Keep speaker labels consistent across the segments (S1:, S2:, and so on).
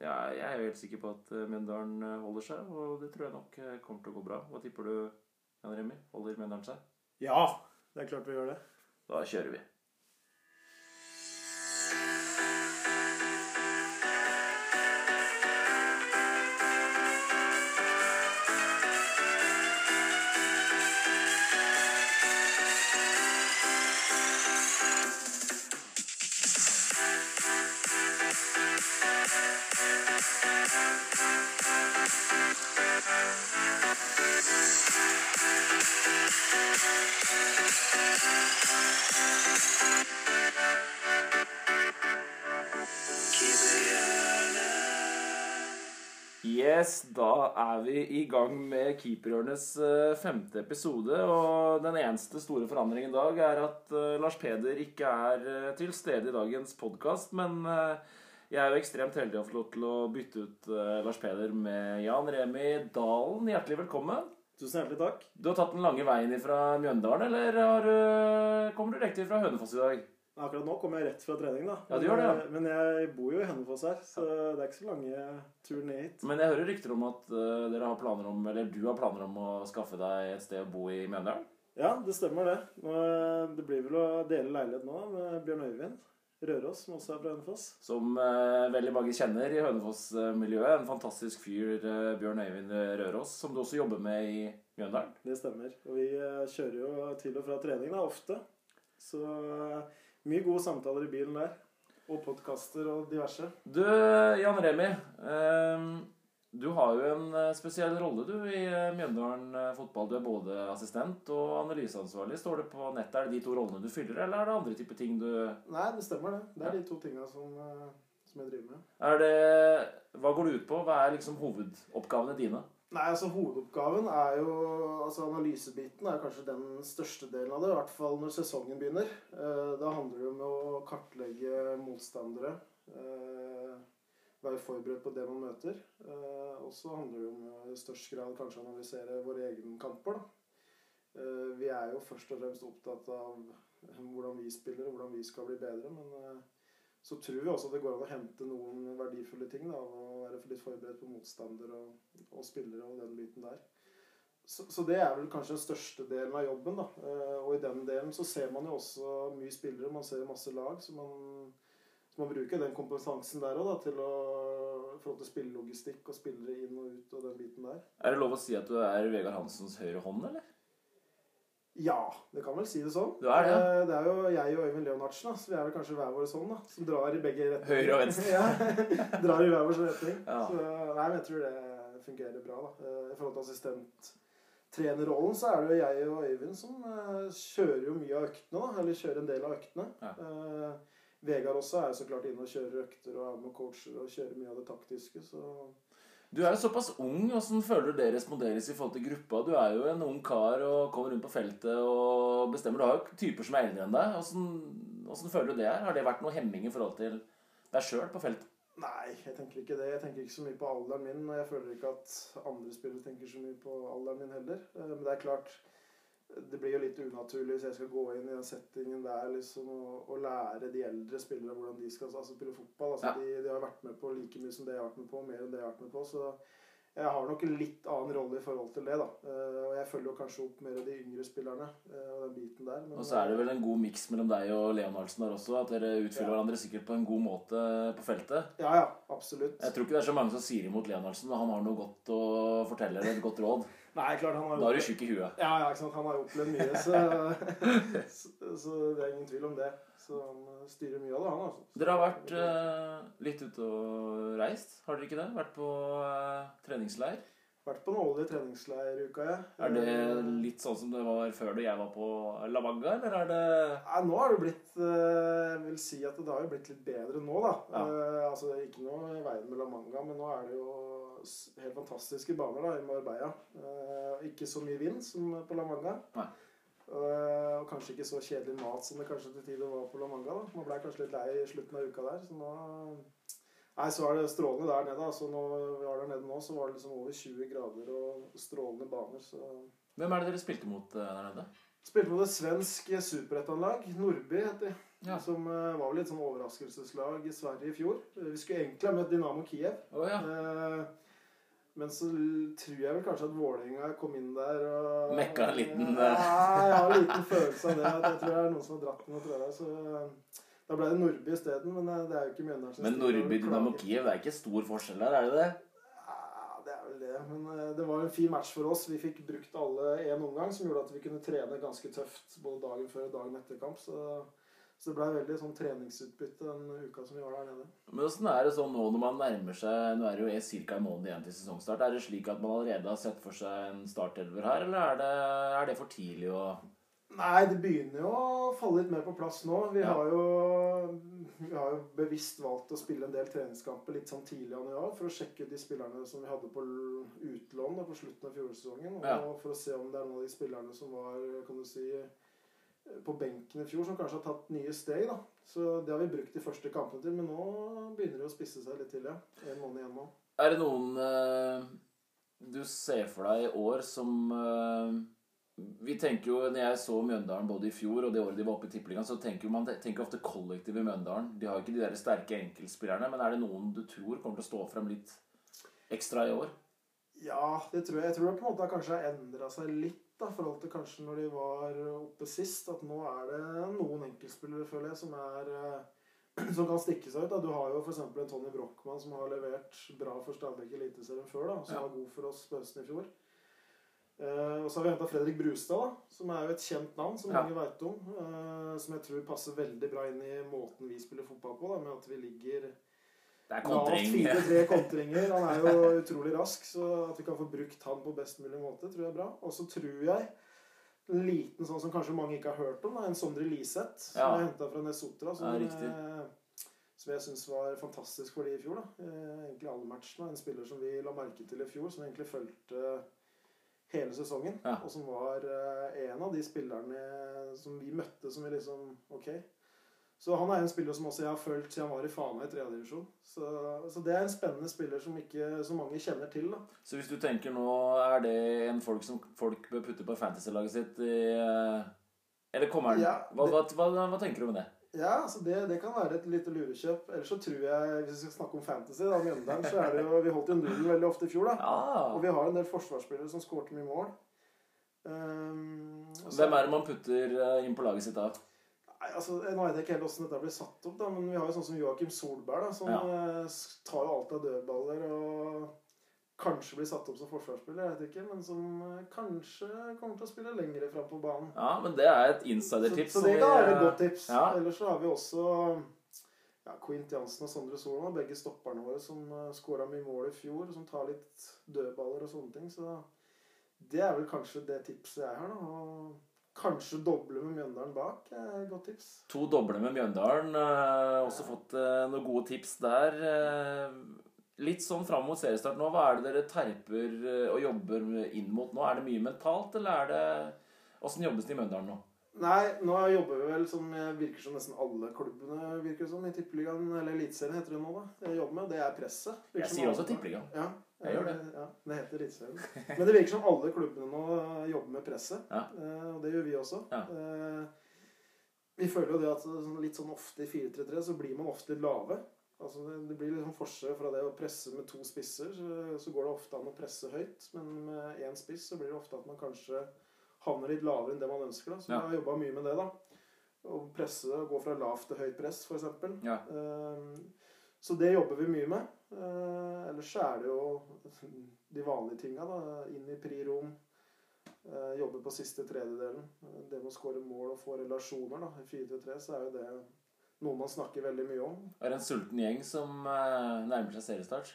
S1: ja, jeg er jo helt sikker på at eh, Mjøndalen eh, holder seg, og det tror jeg nok eh, kommer til å gå bra. Hva tipper du, Jan Remi? Holder Mjøndalen seg?
S2: Ja, det er klart vi gjør det.
S1: Da kjører vi. Yes, da er vi i gang med Keeperhjørnes eh, femte episode. Og den eneste store forandringen i dag er at eh, Lars Peder ikke er eh, til stede i dagens podkast. Men eh, jeg er jo ekstremt heldig å få lov til å bytte ut eh, Lars Peder med Jan Remi Dalen. Hjertelig velkommen.
S2: Tusen hjertelig takk.
S1: Du har tatt den lange veien fra Mjøndalen, eller har, du- kommer du direkte fra Hønefoss i dag?
S2: Akkurat nå kommer jeg rett fra trening, da.
S1: Ja, du gjør det, ja.
S2: Men jeg bor jo i Hønefoss her, så det er ikke så lange turen ned hit.
S1: Men jeg hører rykter om at eh, dere har planer om, eller du har planer om å skaffe deg et sted å bo i Mjøndalen?
S2: Ja, det stemmer det. Nå, Det blir vel å dele leilighet nå med Bjørn Øyvind Røros, som også er fra Hønefoss.
S1: Som eh, veldig mange kjenner i Hønefoss-miljøet. En fantastisk fyr, eh, Bjørn Øyvind Røros, som du også jobber med i Mjøndalen.
S2: Det stemmer. Og vi eh, kjører jo til og fra trening da, ofte. Så eh, mye gode samtaler i bilen der. Og podkaster og diverse.
S1: Du, Jan Remi. eh, du har jo en eh, spesiell rolle, du, i eh, Mjøndalen eh, fotball. Du er både assistent og analyseansvarlig. Står det på nettet? Er det de to rollene du fyller, eller er det andre typer ting du
S2: Nei, det stemmer det. Det er de to tinga som, eh, som jeg driver med.
S1: Er det Hva går det ut på? Hva er liksom hovedoppgavene dine?
S2: Nei, altså hovedoppgaven er jo Altså analysebiten er kanskje den største delen av det. I hvert fall når sesongen begynner. Eh, Da handler det om å kartlegge motstandere. eh, Være forberedt på det man møter. Eh, Og så handler det om i størst grad kanskje å analysere våre egne kamper, da. Eh, Vi er jo først og fremst opptatt av hvordan vi spiller og hvordan vi skal bli bedre, men eh, så tror vi også det går an å hente noen verdifulle ting da, av å være litt forberedt på motstander og og spillere og den biten der. Så, så det er vel kanskje den største delen av jobben. da. Eh, Og i den delen så ser man jo også mye spillere, man ser masse lag. Så man, så man bruker den kompetansen der òg til å i forhold til spillelogistikk og spillere inn og ut og den biten der.
S1: Er det lov å si at du er Vegard Hansens høyre hånd, eller?
S2: Ja, det kan vel si det sånn.
S1: Du er det, ja.
S2: Eh, det er jo jeg og Øyvind Leonardsen, da, så vi er vel kanskje hver vår sånn, da. Som drar i begge retninger.
S1: Høyre og venstre.
S2: ja, drar i hver vår retning.
S1: Ja.
S2: Så, nei, men jeg tror det fungerer bra. da. Eh, I forhold til assistenttrenerrollen så er det jo jeg og Øyvind som eh, kjører jo mye av øktene. da, Eller kjører en del av øktene.
S1: Ja.
S2: Eh, Vegard også er jo så klart inne og kjører økter og er med og coacher og kjører mye av det taktiske. så...
S1: Du er jo såpass ung. Hvordan føler du det responderes i forhold til gruppa? Du er jo en ung kar og kommer rundt på feltet og bestemmer. Du har jo typer som er eldre enn deg. Hvordan, hvordan føler du det her? Har det vært noe hemming i forhold til deg sjøl på feltet?
S2: Nei, jeg tenker ikke det. Jeg tenker ikke så mye på alderen min. Og jeg føler ikke at andre spillere tenker så mye på alderen min heller. Eh, Men det er klart, det blir jo litt unaturlig hvis jeg skal gå inn i den settingen der liksom, og, og lære de eldre spillere hvordan de skal altså, spille fotball. Altså,
S1: Ja.
S2: de, de har vært med på like mye som det jeg har vært med på, og mer enn det jeg har vært med på. Så jeg har nok en litt annen rolle i forhold til det. da. Eh, Og jeg følger jo kanskje opp mer av de yngre spillerne eh, og den biten der. men-
S1: Og så er det vel en god miks mellom deg og Leonardsen der også. At dere utfyller
S2: Ja.
S1: hverandre sikkert på en god måte på feltet.
S2: Ja, ja. Absolutt.
S1: Jeg tror ikke det er så mange som sier imot Leonardsen. og Han har noe godt å fortelle eller et godt råd.
S2: Nei, klart han har
S1: Da er du tjukk i huet.
S2: Ja, ja, ikke sant. Han har jo opplevd mye, så, så, så det er ingen tvil om det. Så han eh, styrer mye av det, han. altså.
S1: Dere har vært eh, litt ute og reist, har dere ikke det? Vært på eh, treningsleir?
S2: Vært på den årlige treningsleiruka, jeg.
S1: Er det
S3: Eh.
S1: litt sånn som det var før da jeg var på Lavagga, eller er det
S2: Nei, nå har det blitt eh, Jeg vil si at det har jo blitt litt bedre nå, da.
S1: Ja.
S2: Eh, altså, det er ikke noe i veien med La Manga, men nå er det jo s- helt fantastiske baner da, i Marbella. Eh, ikke så mye vind som på La Manga.
S1: Nei.
S2: Eh, og kanskje ikke så kjedelig mat som det kanskje til tider var på La Manga. da. Man blei kanskje litt lei i slutten av uka der, så nå Nei, så er det strålende der nede. Altså, når vi var der nede nå, så var det liksom over 20 grader og strålende baner, så
S1: Hvem er det dere spilte mot eh, der nede?
S2: Spilte mot et svensk superettanlag. Nordby heter de.
S3: Ja.
S2: Som eh, var vel et sånn overraskelseslag i Sverige i fjor. Eh, Vi skulle egentlig ha møtt Dynamo Kiev.
S3: Å ja.
S2: Eh, Men så l- tror jeg vel kanskje at Vålerenga kom inn der og
S1: Mekka en liten, eh.
S2: Nei, jeg har en liten følelse av det. At jeg tror det er noen som har dratt den og trøya. Så eh, da ble det Nordby isteden. Men eh, det er jo ikke Mjøndalen som
S1: Men
S2: stiller og
S1: Nordby Dynamo
S2: klager.
S1: Kiev, det er ikke stor forskjell der, er det det?
S2: Ja, det er vel det. Men eh, det var en fin match for oss. Vi fikk brukt alle én omgang, som gjorde at vi kunne trene ganske tøft både dagen før og dagen etter kamp. Så, så det ble veldig sånn treningsutbytte den uka som vi var der nede.
S1: Men åssen er det sånn nå når man nærmer seg Nå er det jo ca. en måned igjen til sesongstart. Er det slik at man allerede har sett for seg en startelver her, eller er det, er det for tidlig å
S2: Nei, det begynner jo å falle litt mer på plass nå. Vi,
S1: Ja.
S2: har, jo, vi har jo bevisst valgt å spille en del treningskamper litt sånn tidlig i januar for å sjekke ut de spillerne som vi hadde på l- utlån da, på slutten av fjorårssesongen. Og
S1: Ja.
S2: for å se om det er noen av de spillerne som var kan du si, eh, på benken i fjor, som kanskje har tatt nye steg. da. Så det har vi brukt de første kampene til, men nå begynner det å spisse seg litt til. ja. En måned igjen nå.
S1: Er det noen eh, du ser for deg i år som eh, Vi tenker jo, når jeg så Mjøndalen både i fjor og det året de var oppe i Tippeligaen, så tenker jo man tenker ofte kollektiv i Mjøndalen. De har jo ikke de der sterke enkeltspillerne, men er det noen du tror kommer til å stå frem litt ekstra i år?
S2: Ja, det tror jeg. Jeg tror det på en måte har kanskje har endra seg litt da, i forhold til kanskje når de var eh, oppe sist. At nå er det noen enkeltspillere, føler jeg, som er eh, som kan stikke seg ut. da. Du har jo f.eks. en Tony Brochmann som har levert bra for Stabæk i Eliteserien før. da, Som
S1: Ja.
S2: var god for oss på høsten i fjor. Eh, og så har vi henta Fredrik Brustad, da, som er jo et kjent navn som
S1: Ja.
S2: mange veit om. eh, som jeg tror passer veldig bra inn i måten vi spiller fotball på, da, med at vi ligger
S1: Det er
S2: Lavt
S1: kontring.
S2: fire-tre kontringer. Han er jo utrolig rask, så at vi kan få brukt han på best mulig måte, tror jeg er bra. Og så tror jeg en liten sånn som kanskje mange ikke har hørt om, da, en Sondre Liseth, som
S1: Ja.
S2: er henta fra Nesotra.
S1: Ja,
S2: Som,
S1: riktig.
S2: eh, som jeg syns var fantastisk for de i fjor. da. Eh, Egentlig alle matchene. En spiller som vi la merke til i fjor, som egentlig fulgte hele sesongen.
S1: Ja.
S2: Og som var eh, en av de spillerne eh, som vi møtte, som vi liksom Ok. Så han er en spiller som også jeg har følt siden han var i Fana i tredjedivisjon. Så, så det er en spennende spiller som ikke så mange kjenner til. da.
S1: Så hvis du tenker nå, er det en folk som folk bør putte på fantasy-laget sitt i eh, Eller kommer den?
S2: Ja,
S1: hva, hva, hva, hva tenker du om det?
S2: Ja, altså det, det kan være et lite lurekjøp. Ellers så tror jeg, hvis vi skal snakke om fantasy, da, Mjøndalen, så er det jo Vi holdt jo nullen veldig ofte i fjor, da.
S1: Ah,
S2: Og vi har en del forsvarsspillere som skårte mye mål. Ehm, og så-
S1: hvem er det man putter eh, inn på laget sitt da?
S2: Nei, altså, Nå vet jeg ikke helt hvordan dette blir satt opp, da, men vi har jo sånn som Joakim Solberg, da, som
S1: Ja.
S2: eh, s- tar jo alt av dødballer og kanskje blir satt opp som forsvarsspiller, jeg vet ikke, men som eh, kanskje kommer til å spille lengre fram på banen.
S1: Ja, men det er et
S2: Så,
S1: insidertips.
S2: så
S1: som
S2: det
S1: vi,
S2: kan være
S1: eh,
S2: et godt tips.
S1: ja.
S2: Ellers så har vi også ja, Quint Jansen og Sondre Solvang, begge stopperne våre, som uh, skåra mye mål i fjor, som tar litt dødballer og sånne ting. Så det er vel kanskje det tipset jeg har, da. Og kanskje doble med Mjøndalen bak er et godt tips.
S1: To doble med Mjøndalen. eh, også fått eh, noen gode tips der. Eh, litt sånn fram mot seriestart nå, hva er det dere terper eh, og jobber inn mot nå? Er det mye mentalt, eller er det Åssen jobbes det i Mjøndalen nå?
S2: Nei, nå jobber vi vel som eh, virker som nesten alle klubbene virker som i Tippeligaen, eller Eliteserien heter det nå, da. Jeg jobber med, Det er presset.
S1: Jeg
S2: Virker som
S1: sier
S2: alle-
S1: også Tippeligaen.
S2: Ja,
S1: Jeg gjør det.
S2: Ja, det heter Eliteserien. Men det virker som alle klubbene nå eh, jobber med presset.
S1: Ja.
S2: eh, Og det gjør vi også.
S1: Ja.
S2: Eh, Vi føler jo det at sånn litt sånn ofte i 4-3-3 så blir man ofte litt lave. Altså det- Det blir litt sånn forskjell fra det å presse med to spisser. Så så går det ofte an å presse høyt, men med én spiss så blir det ofte at man kanskje havner litt lavere enn det man ønsker. da. Så
S1: Ja.
S2: vi har jobba mye med det. da. Å presse og gå fra lavt til høyt press, f.eks.
S1: Ja.
S2: Så det jobber vi mye med. Eh, Ellers så er det jo de vanlige tinga. da. Inn i pri-rom. eh, Jobbe på siste tredjedelen. Eh, Det med å skåre mål og få relasjoner da. i 4-3, så er jo det noe man snakker veldig mye om.
S1: Er det en sulten gjeng som eh, nærmer seg seriestart?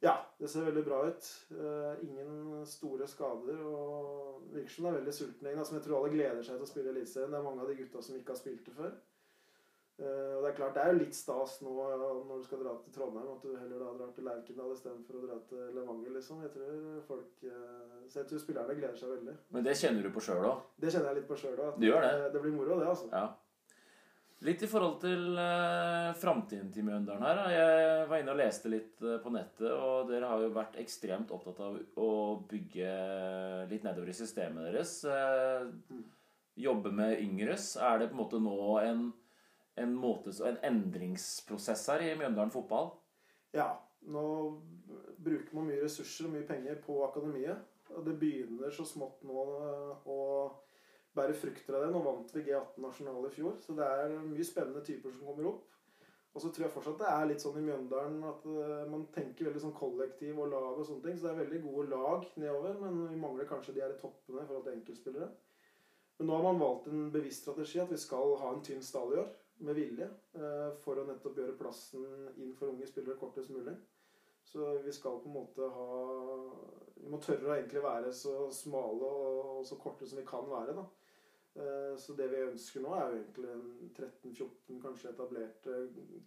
S2: Ja, det ser veldig bra ut. Eh, Ingen store skader. og Virker som det er veldig sulten gjeng. da, Som jeg tror alle gleder seg til å spille i Eliteserien. Det er mange av de gutta som ikke har spilt det før. Eh, og Det er klart, det er jo litt stas nå ja, når du skal dra til Trondheim, at du heller da drar til Lerkendal istedenfor å dra til Levanger, liksom. Jeg tror folk eh, Så jeg tror spillerne gleder seg veldig.
S1: Men det kjenner du på sjøl òg.
S2: Det kjenner jeg litt på sjøl òg.
S1: Du gjør det?
S2: Det blir moro, det, altså.
S1: Ja. Litt i forhold til eh, framtiden til Mjøndalen her. da. Jeg var inne og leste litt eh, på nettet, og dere har jo vært ekstremt opptatt av å bygge litt nedover i systemet deres. Eh,
S2: Mm.
S1: jobbe med yngres. Er det på en måte nå en en, måte, en endringsprosess her i Mjøndalen fotball.
S2: Ja. Nå bruker man mye ressurser og mye penger på akademiet. Og det begynner så smått nå eh, å bære frukter av det. Nå vant vi G18 nasjonal i fjor, så det er mye spennende typer som kommer opp. Og så tror jeg fortsatt det er litt sånn i Mjøndalen at eh, man tenker veldig sånn kollektiv og lag og sånne ting. Så det er veldig gode lag nedover, men vi mangler kanskje de her i toppene i forhold til enkeltspillere. Men nå har man valgt en bevisst strategi at vi skal ha en tynn stall i år, med vilje. eh, For å nettopp gjøre plassen inn for unge spillere kortest mulig. Så vi skal på en måte ha Vi må tørre å egentlig være så smale og så korte som vi kan være. da. Eh, Så det vi ønsker nå, er jo egentlig en 13-14 kanskje etablerte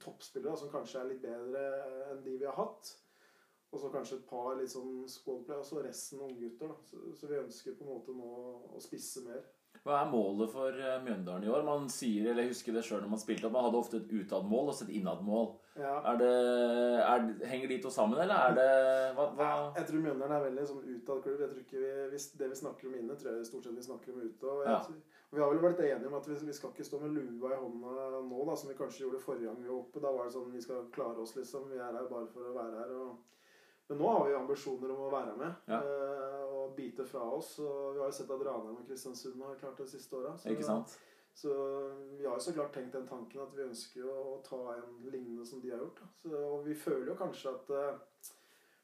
S2: toppspillere da, som kanskje er litt bedre enn de vi har hatt. Og så kanskje et par litt sånn squadplay, og så resten unggutter. da. Så- Så vi ønsker på en måte nå å spisse mer.
S1: Hva er målet for eh, Mjøndalen i år? Man sier, eller jeg husker det sjøl når man spilte, at man hadde ofte et utadmål og et innadmål.
S2: Ja.
S1: Er det, er, henger de to sammen, eller er det hva, hva?
S2: Jeg tror Mjøndalen er veldig sånn utadklubb. Jeg tror ikke vi, hvis det vi snakker om inne, tror jeg stort sett vi snakker om ute. Og jeg,
S1: Ja.
S2: tror- Vi har vel vært enige om at vi, vi skal ikke stå med lua i hånda nå, da, som vi kanskje gjorde forrige gang vi var oppe. Da var det sånn vi skal klare oss, liksom. Vi er her bare for å være her. Og... Men nå har vi ambisjoner om å være med
S1: Ja.
S2: eh, og bite fra oss. Og vi har jo sett at Ranheim og Kristiansund har klart det siste åra.
S1: Ikke sant?
S2: Så um, vi har jo så klart tenkt den tanken at vi ønsker jo å ta en lignende som de har gjort. Da. Så, og vi føler jo kanskje at eh,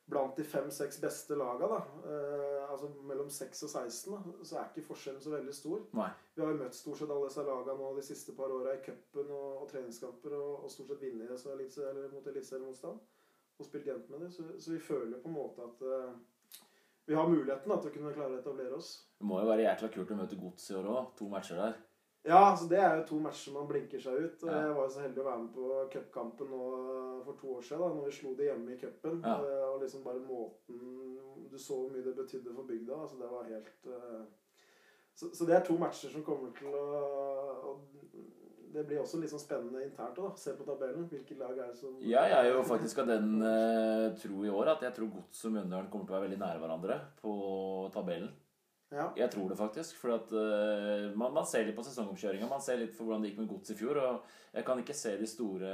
S2: blant de fem-seks beste laga, da, eh, altså mellom 6 og 16, da, så er ikke forskjellen så veldig stor.
S1: Nei.
S2: Vi har jo møtt stort sett alle disse laga nå de siste par åra i cupen og, og treningskamper og, og stort sett vunnet disse elitse- eller mot eliteseriemotstand og spilt jevnt med det. Så, så vi føler jo på en måte at eh, vi har muligheten da, til å kunne klare å etablere oss.
S1: Det må jo være jækla kult å møte Gods i år òg. To matcher der.
S2: Ja, altså det er jo to matcher man blinker seg ut. Og
S1: Ja.
S2: Jeg var jo så heldig å være med på cupkampen nå for to år siden, da når vi slo det hjemme i cupen.
S1: Ja.
S2: Eh, Og liksom bare måten Du så hvor mye det betydde for bygda. Altså det var helt eh, så, så det er to matcher som kommer til å og Det blir også litt sånn spennende internt òg, da. Se på tabellen. Hvilke lag er det som
S1: Ja, jeg er jo faktisk av den eh, tro i år at jeg tror Gods og Mjøndalen kommer til å være veldig nære hverandre på tabellen.
S2: Ja.
S1: Jeg tror det faktisk. For at eh, man, man ser litt på sesongoppkjøringa. Man ser litt for hvordan det gikk med Gods i fjor. Og jeg kan ikke se de store,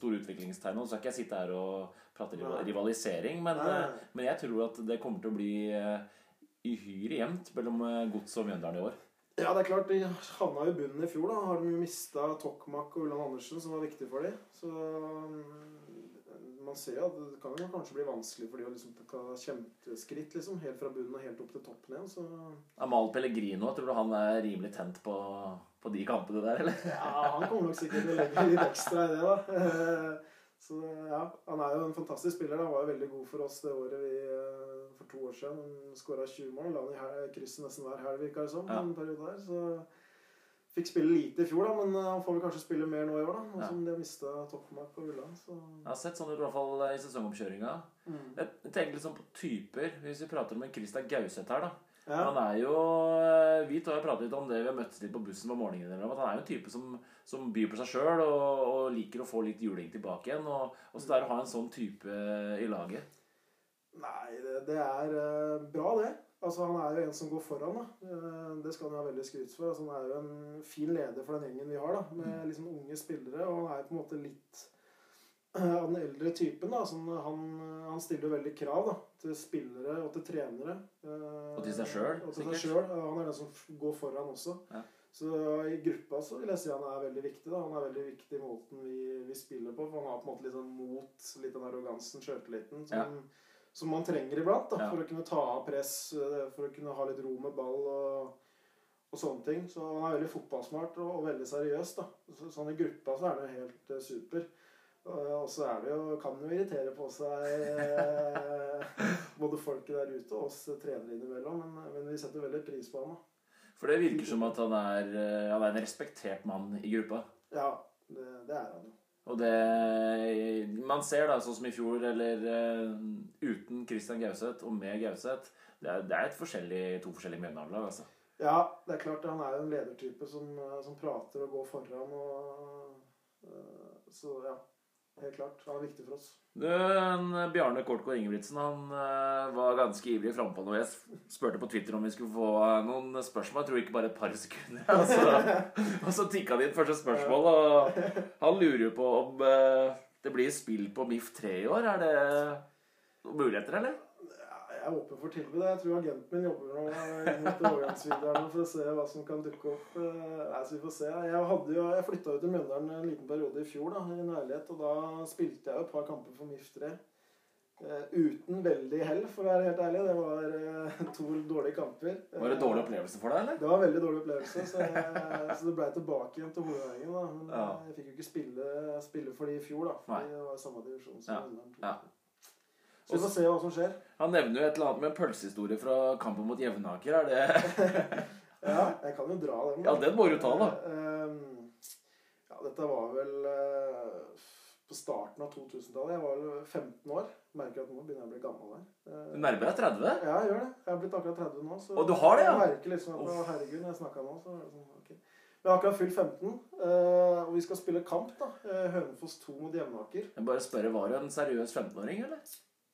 S1: store utviklingstegnene. Så skal ikke jeg sitte her og prate rival-
S2: Nei.
S1: rivalisering, men,
S2: Nei.
S1: eh, men jeg tror at det kommer til å bli eh, uhyre jevnt mellom eh, Gods og Mjøndalen i år.
S2: Ja, det er klart, de havna jo i bunnen i fjor. da, Har de jo mista Tokmak og Ulland Andersen, som var viktig for dem. Så mm, man ser jo at det kan jo kanskje bli vanskelig for de å liksom ta kjempeskritt liksom, helt fra bunnen og helt opp til toppen igjen. Så
S1: Amal Pellegrino, tror du han er rimelig tent på, på de kampene der, eller?
S2: ja, han kommer nok sikkert til å legge litt ekstra i det, da. Eh, Så ja, Han er jo en fantastisk spiller. da, Han var jo veldig god for oss det året vi eh, for to år siden. Han skåra 20 mål. La han i hel- krysset nesten hver helg, virka det som.
S1: Ja.
S2: en periode der, så Fikk spille lite i fjor, da, men eh, han får vel kanskje spille mer nå i år, da. Nå
S1: Ja.
S2: som de har mista toppmark på Ulland. Så
S1: Jeg har sett sånn ut i hvert fall i sesongoppkjøringa.
S2: mm.
S1: Jeg tenker litt sånn på typer. Hvis vi prater om en Christian Gauseth her, da.
S2: ja.
S1: Han er jo eh, Vi to har pratet litt om det, vi har møttes litt på bussen på morgenen innimellom. At han er jo en type som, som byr på seg sjøl og, og liker å få litt juling tilbake igjen. Og, og så det er å ha en sånn type i laget.
S2: Nei, det, det er eh, bra, det. Altså, Han er jo en som går foran. da. Eh, det skal han ha veldig skryt for. Altså, han er jo en fin leder for den gjengen vi har, da, med liksom unge spillere. Og han er på en måte litt eh, av den eldre typen. da. Sånn, han, han stiller jo veldig krav da, til spillere og til trenere. eh,
S1: Og til seg selv,
S2: og til seg
S1: sikkert.
S2: selv. Han er den som f- går foran også.
S1: Ja.
S2: Så eh, i gruppa så vil jeg si han er veldig viktig. da. Han er veldig viktig i måten vi, vi spiller på. For han har på en måte litt sånn mot, litt den arrogansen, sjøltilliten, som, som man trenger iblant. da,
S1: Ja.
S2: For å kunne ta av press, eh, for å kunne ha litt ro med ball og, og sånne ting. Så han er veldig fotballsmart og, og veldig seriøs. da. Så, sånn i gruppa så er han jo helt eh, super. Eh, Og så er det jo, kan det jo irritere på seg eh, både folket der ute og oss trenere innimellom, men, men vi setter veldig pris på han. da.
S1: For det virker som at han er, eh, han er en respektert mann i gruppa.
S2: Ja, det, det er han jo.
S1: Og det man ser, da, sånn som i fjor, eller eh, uten Christian Gauseth og med Gauseth Det er, det er et forskjellig, to forskjellige Mjøndalen-lag, altså.
S2: Ja, det er klart han er jo en ledertype som, eh, som prater og går foran og eh, Så ja. Helt klart. Det er viktig for oss.
S1: Du, en Bjarne Kortgård Ingebrigtsen han eh, var ganske ivrig frampå når jeg s- spurte på Twitter om vi skulle få eh, noen spørsmål. Jeg tror ikke bare et par sekunder. Og så, og så tikka det inn første spørsmål, og han lurer jo på om eh, det blir spill på MIF 3 i år. Er det noen muligheter, eller?
S2: Jeg er åpen for tilbud. Jeg tror agenten min jobber nå inn mot overgangsvinduene for å se hva som kan dukke opp. Eh, Nei, så vi får se. Jeg, hadde jo- jeg flytta jo til Mjøndalen en liten periode i fjor, da, i en leilighet. Og da spilte jeg jo et par kamper for MIF 3. Eh, Uten veldig hell, for å være helt ærlig. Det var eh, to dårlige kamper.
S1: Var det en dårlig opplevelse for deg, eller?
S2: Det var en veldig dårlig opplevelse, så, jeg, så det blei tilbake igjen til Hovedveien. da. Men
S1: Ja.
S2: eh, jeg fikk jo ikke spille, spille for de i fjor, da.
S1: Nei.
S2: Fordi det var i samme divisjon som
S1: Ja.
S2: Mjøndalen.
S1: Ja.
S2: Så vi får se hva som skjer.
S1: Han nevner jo et eller annet med en pølsehistorie fra kampen mot Jevnaker. Er det
S2: Ja, jeg kan jo dra den. da.
S1: Ja, den må du ta, da.
S2: Ehm, Ja, dette var vel eh, på starten av 2000-tallet. Jeg var vel 15 år. Merker at nå begynner jeg å bli gammel her.
S1: Du
S2: Eh,
S1: nærmer deg 30?
S2: Ja, jeg gjør det. Jeg er blitt akkurat 30 nå. Så
S1: Og du har det, ja?
S2: Jeg merker liksom at å,
S1: Uff.
S2: herregud, når jeg snakka nå, så var det sånn, ok. Vi har akkurat fylt 15, eh, og vi skal spille kamp, da. Eh, Hønefoss 2 mot Jevnaker.
S1: Jeg bare spørre, Var du en seriøs 15-åring, eller?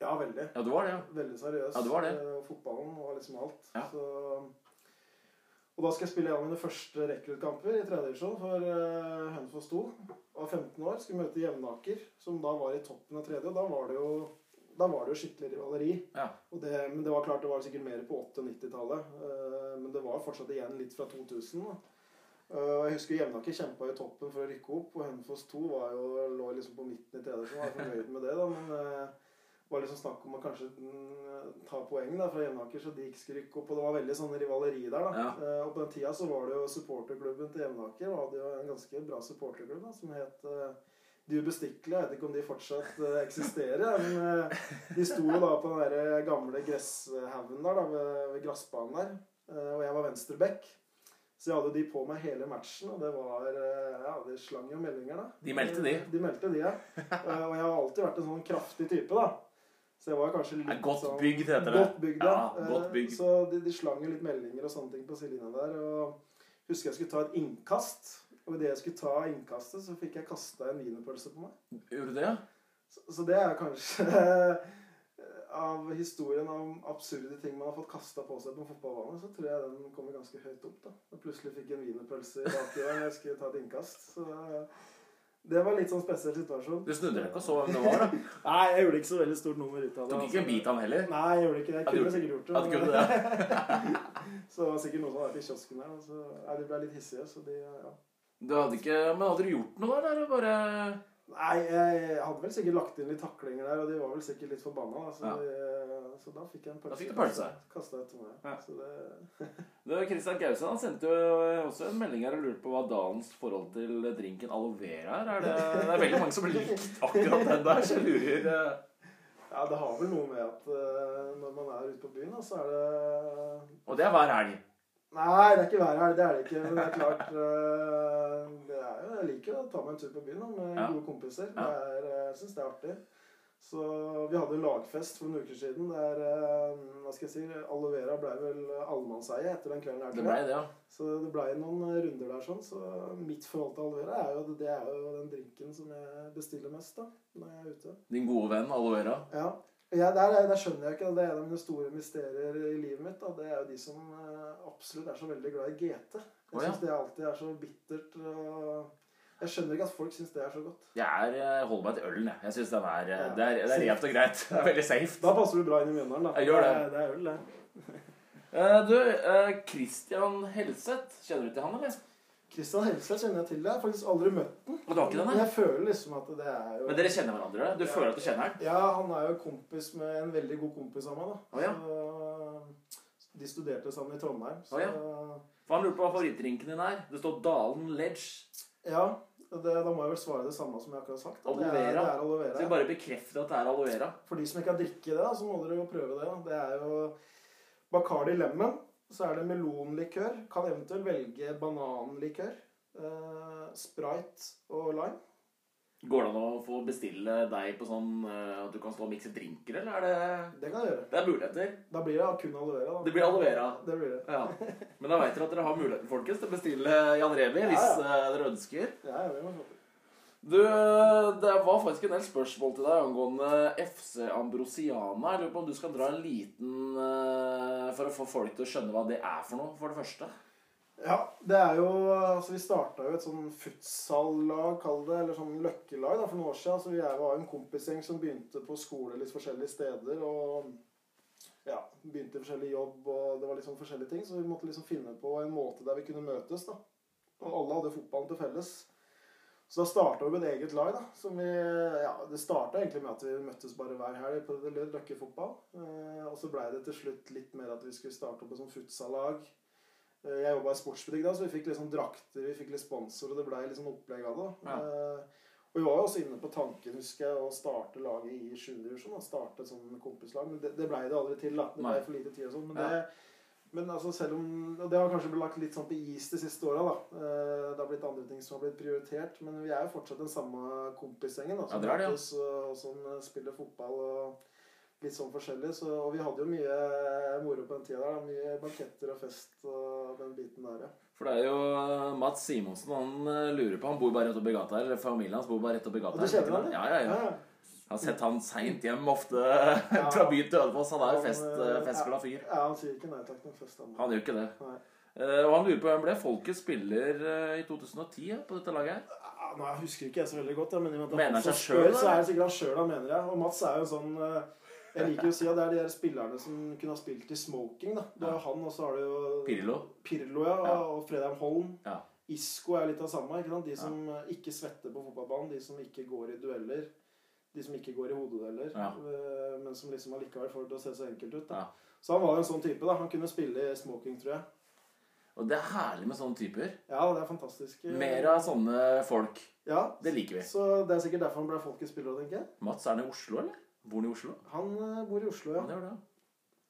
S2: Ja, veldig.
S1: Ja, du var det, ja.
S2: Veldig seriøs.
S1: Ja, det var det.
S2: Eh, Fotballen og liksom alt.
S1: Ja.
S2: Så, og da skal jeg spille en av mine første rekruttkamper i tredje divisjon for uh, Hønefoss 2. Var 15 år, skulle møte Jevnaker, som da var i toppen av tredje. Og da var det jo, da var det jo skikkelig rivaleri.
S1: Ja.
S2: Og det, men det var klart det var sikkert mer på 80- og 90-tallet. eh, men det var fortsatt igjen litt fra 2000. da. Eh, og jeg husker Jevnaker kjempa i toppen for å rykke opp, og Hønefoss 2 var jo, lå liksom på midten i tredje, så var jeg fornøyd med det. da, men... eh, det var liksom snakk om å kanskje mm, ta poeng da, fra Jevnaker, så de ikke skulle rykke opp. Og det var veldig sånn rivaleri der. da.
S1: Ja.
S2: Eh, og på den tida så var det jo supporterklubben til Jevnaker. og hadde jo en ganske bra supporterklubb da, som het eh, De ubestikkelige. Jeg vet ikke om de fortsatt eh, eksisterer. Men eh, de sto jo da på den der gamle gresshaugen der, da, ved, ved gressbanen der. Eh, og jeg var venstreback. Så jeg hadde jo de på meg hele matchen, og det var eh, Ja, det slang jo meldinger, da.
S1: De meldte de.
S2: De meldte de, ja. Eh, og jeg har alltid vært en sånn kraftig type, da. Så jeg var kanskje litt
S1: Ja, godt
S2: sånn
S1: bygd heter det.
S2: Godt bygd, ja.
S1: Ja, godt
S2: Eh,
S1: bygd.
S2: Så de, de slang jo litt meldinger og sånne ting på sidelinja der. Og husker jeg skulle ta et innkast. Og idet jeg skulle ta innkastet, så fikk jeg kasta en wienerpølse på meg.
S1: Gjorde du det? ja?
S2: Så, så det er kanskje av historien om absurde ting man har fått kasta på seg på en fotballbane, så tror jeg den kommer ganske høyt opp. da. Jeg plutselig fikk en wienerpølse i bakgrunnen når jeg skulle ta et innkast. Så det var litt sånn spesiell situasjon.
S1: Du snudde deg ikke og så hvem det var? da
S2: Nei, jeg gjorde ikke så veldig stort nummer ut av det. altså.
S1: Tok ikke en bit av den heller?
S2: Nei, jeg gjorde ikke det. Jeg
S1: Hadde
S2: kunne
S1: gjort-
S2: sikkert gjort det.
S1: At
S2: men-
S1: kunne det?
S2: Så det var sikkert noen som var i kiosken der. og Så, nei, de ble litt hissige, så de ja.
S1: Du hadde ikke, men hadde du gjort noe der? Eller bare
S2: Nei, jeg, jeg hadde vel sikkert lagt inn litt taklinger der, og de var vel sikkert litt forbanna. Da, så,
S1: Ja.
S2: de, så da fikk jeg en pølse.
S1: Da fikk du pølse.
S2: Kastet etter meg.
S1: Ja.
S2: Så det,
S1: Du, Kristian Gausen han sendte jo eh, også en melding her og lurte på hva Dalens forhold til drinken aloe vera er. er det, det er veldig mange som likt akkurat den der, så jeg lurer eh,
S2: ja, det har vel noe med at eh, når man er ute på byen, da, så er det
S1: Og det er hver helg.
S2: Nei, det er ikke verre her. Det er det ikke. Men det er klart eh, det er jo, Jeg liker å ta meg en tur på byen da, med
S1: Ja.
S2: gode kompiser.
S1: Ja.
S2: Det er, eh, Jeg syns det er artig. Så Vi hadde jo lagfest for noen uker siden. Der eh, hva skal jeg si, Aloe vera ble vel eh, allemannseie etter den kvelden. her,
S1: Det
S2: tror
S1: ble
S2: jeg.
S1: det, ja.
S2: Så det blei noen runder der. sånn, Så mitt forhold til aloe vera er jo, det er jo den drinken som jeg bestiller mest da, når jeg er ute.
S1: Din gode venn aloe vera.
S2: Ja. Ja, der, der skjønner jeg ikke. Det er en av mine store mysterier i livet mitt. Da. Det er jo de som eh, absolutt er så veldig glad i GT. Jeg
S1: Å, ja.
S2: syns det alltid er så bittert. Og jeg skjønner ikke at folk syns det er så godt.
S1: Jeg er, eh, holder meg til ølen, jeg. Jeg synes den er, eh,
S2: Ja.
S1: Det er, det er rent og greit. Det er veldig safe.
S2: Da passer du bra inn i Mjøndalen, da.
S1: Jeg gjør det.
S2: Det er øl, det.
S1: Eh, Du, eh, Christian Helseth. Kjenner du til han, eller?
S2: Christian Helseth kjenner jeg til. Jeg har faktisk aldri møtt den.
S1: Og du har ikke den,
S2: Men
S1: nei?
S2: jeg føler liksom at det er jo
S1: Men dere kjenner hverandre? eller? Du
S2: Ja.
S1: føler at du kjenner han?
S2: Ja, han er jo kompis med en veldig god kompis av meg, da.
S1: Å, ja.
S2: Så, de studerte sammen i Trondheim. Så
S1: Å, For han lurte på hva favorittdrinken din er. Det står Dalen Ledge.
S2: ja. Det, da må jeg vel svare det samme som jeg akkurat har sagt. da. Det
S1: Aloe
S2: er-
S1: vera.
S2: Det er aloe vera.
S1: Så jeg bare bekrefter at det er aloe vera.
S2: For de som ikke har drikket det, så må dere jo prøve det. Det er jo Bacardi Lemon. Så er det melonlikør. Kan eventuelt velge bananlikør. Eh, sprite og lime.
S1: Går det an å få bestille deg på sånn eh, at du kan stå og mikse drinker, eller er det
S2: Det kan jeg gjøre.
S1: Det er muligheter.
S2: Da blir det kun aloe vera. da.
S1: Det blir aloe vera.
S2: Det blir det.
S1: Ja. Men da veit dere at dere har muligheten, folkens, til å bestille Jan Remi hvis eh, dere ønsker.
S2: Ja, ja, det må jeg få til.
S1: Du, det var faktisk en del spørsmål til deg angående FC Ambrosiana. Jeg lurer på om du skal dra en liten eh, for å få folk til å skjønne hva det er for noe, for det første.
S2: Ja, det er jo altså Vi starta jo et sånn futsallag, kall det, eller sånn løkkelag, da, for noen år siden. Altså, vi er, var en kompisgjeng som begynte på skole litt forskjellige steder. og ja, Begynte i forskjellig jobb, og det var liksom forskjellige ting. Så vi måtte liksom finne på en måte der vi kunne møtes. da. Og alle hadde fotballen til felles. Så da starta vi med et eget lag. da, som vi, ja, Det starta egentlig med at vi møttes bare hver helg på Løkke fotball. Eh, og så blei det til slutt litt mer at vi skulle starte opp et sånt futsallag. Eh, Jeg jobba i sportsbutikk da, så vi fikk liksom drakter, vi fikk litt sponsor, og det blei litt sånn opplegg av det.
S1: Ja.
S2: Eh, Og vi var jo også inne på tanken, husker jeg, å starte laget i 7. divisjon. da, Starte et sånn kompislag. Men det, det blei det aldri til, da. Det
S1: Nei.
S2: blei for lite tid og sånn. Men
S1: Ja.
S2: det men altså selv om Og det har kanskje blitt lagt litt sånn på is de siste åra, da. Eh, Det har blitt andre ting som har blitt prioritert. Men vi er jo fortsatt den samme kompisgjengen, da.
S1: Ja,
S2: Som
S1: det er det, ja.
S2: møtes, og, og som eh, spiller fotball og litt sånn forskjellig. Så, og vi hadde jo mye eh, moro på den tida der. da, Mye banketter og fest og den biten der, ja.
S1: For det er jo eh, Mats Simonsen han eh, lurer på Han bor bare rett oppi gata her. Eller familien hans bor bare rett oppi gata
S2: Og du kjenner han,
S1: Ja, ja, ja. Jeg har sett han seint hjem ofte fra byen til Ødefoss. Han er jo fest, eh, festglad fyr.
S2: Ja, han sier ikke nei takk til en fest. Han.
S1: Han gjør ikke det.
S2: Nei.
S1: Eh, Og han lurer på hvem ble folkets spiller eh, i 2010 ja, på dette laget her?
S2: Ja, Nei, Ah, jeg husker ikke jeg så veldig godt. ja, Men i og med at
S1: Mener
S2: han
S1: seg
S2: som
S1: selv,
S2: spør, så
S1: eller?
S2: er det sikkert han sjøl han mener jeg. Og Mats er jo en sånn eh, Jeg liker jo å si at det er de der spillerne som kunne ha spilt i smoking. da. Det er jo han, og så har du jo
S1: Pirlo.
S2: Pirlo ja,
S1: Ja.
S2: og Fredheim Holm.
S1: Ja.
S2: Isco er litt av samme. ikke sant? De som eh, ikke svetter på fotballbanen, de som ikke går i dueller. De som ikke går i hodedueller,
S1: Ja.
S2: eh, men som liksom allikevel får det til å se så enkelt ut. da.
S1: Ja.
S2: Så han var jo en sånn type. da. Han kunne spille i smoking, tror jeg.
S1: Og det er herlig med sånne typer.
S2: Ja, det er fantastisk. eh,
S1: Mer av sånne folk.
S2: Ja,
S1: Det liker vi.
S2: Så det er sikkert derfor han ble folkets spiller, tenker jeg.
S1: Mats, er han i Oslo, eller? Bor han i Oslo?
S2: Han eh, bor i Oslo,
S1: Ja,
S2: ja.
S1: det gjør det.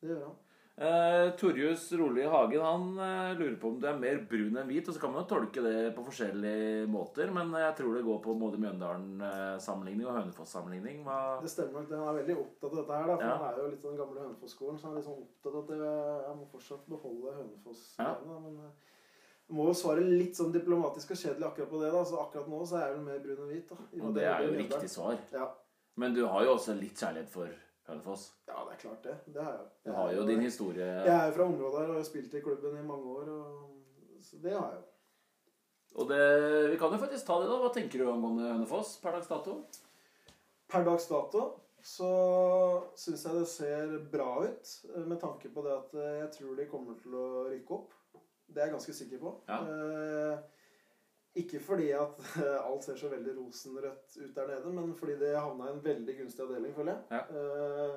S2: Det gjør han.
S1: Eh, Torjus Roli Hagen han eh, lurer på om du er mer brun enn hvit. Og så kan man jo tolke det på forskjellige måter, men jeg tror det går på både Mjøndalen-sammenligning og Hønefoss-sammenligning. Hva-
S2: Det stemmer nok. det. Han er veldig opptatt av dette her, da. For
S1: Ja.
S2: han er jo litt av den gamle Hønefoss-skolen, så han er litt sånn opptatt av at eh, jeg må fortsatt beholde Hønefoss.
S1: Ja.
S2: da, Men eh, jeg må jo svare litt sånn diplomatisk og kjedelig akkurat på det, da. Så akkurat nå så er jeg vel mer brun enn hvit, da. i og med
S1: Og
S2: at
S1: det
S2: jeg
S1: er jo
S2: jobber i Mjøndalen.
S1: riktig svar.
S2: Ja.
S1: Men du har jo også litt kjærlighet for Hønefoss.
S2: ja, det er klart det. Det har jeg.
S1: Du
S2: Jeg
S1: har
S2: er
S1: jo din historie.
S2: Jeg er jo fra området her og har spilt i klubben i mange år, og så det har jeg jo.
S1: Og det, vi kan jo faktisk ta det, da. Hva tenker du angående Hønefoss per dags dato?
S2: Per dags dato så syns jeg det ser bra ut, eh, med tanke på det at eh, jeg tror de kommer til å rykke opp. Det er jeg ganske sikker på.
S1: Ja.
S2: Eh, ikke fordi at eh, alt ser så veldig rosenrødt ut der nede, men fordi det havna i en veldig gunstig avdeling, føler jeg.
S1: Ja.
S2: Eh,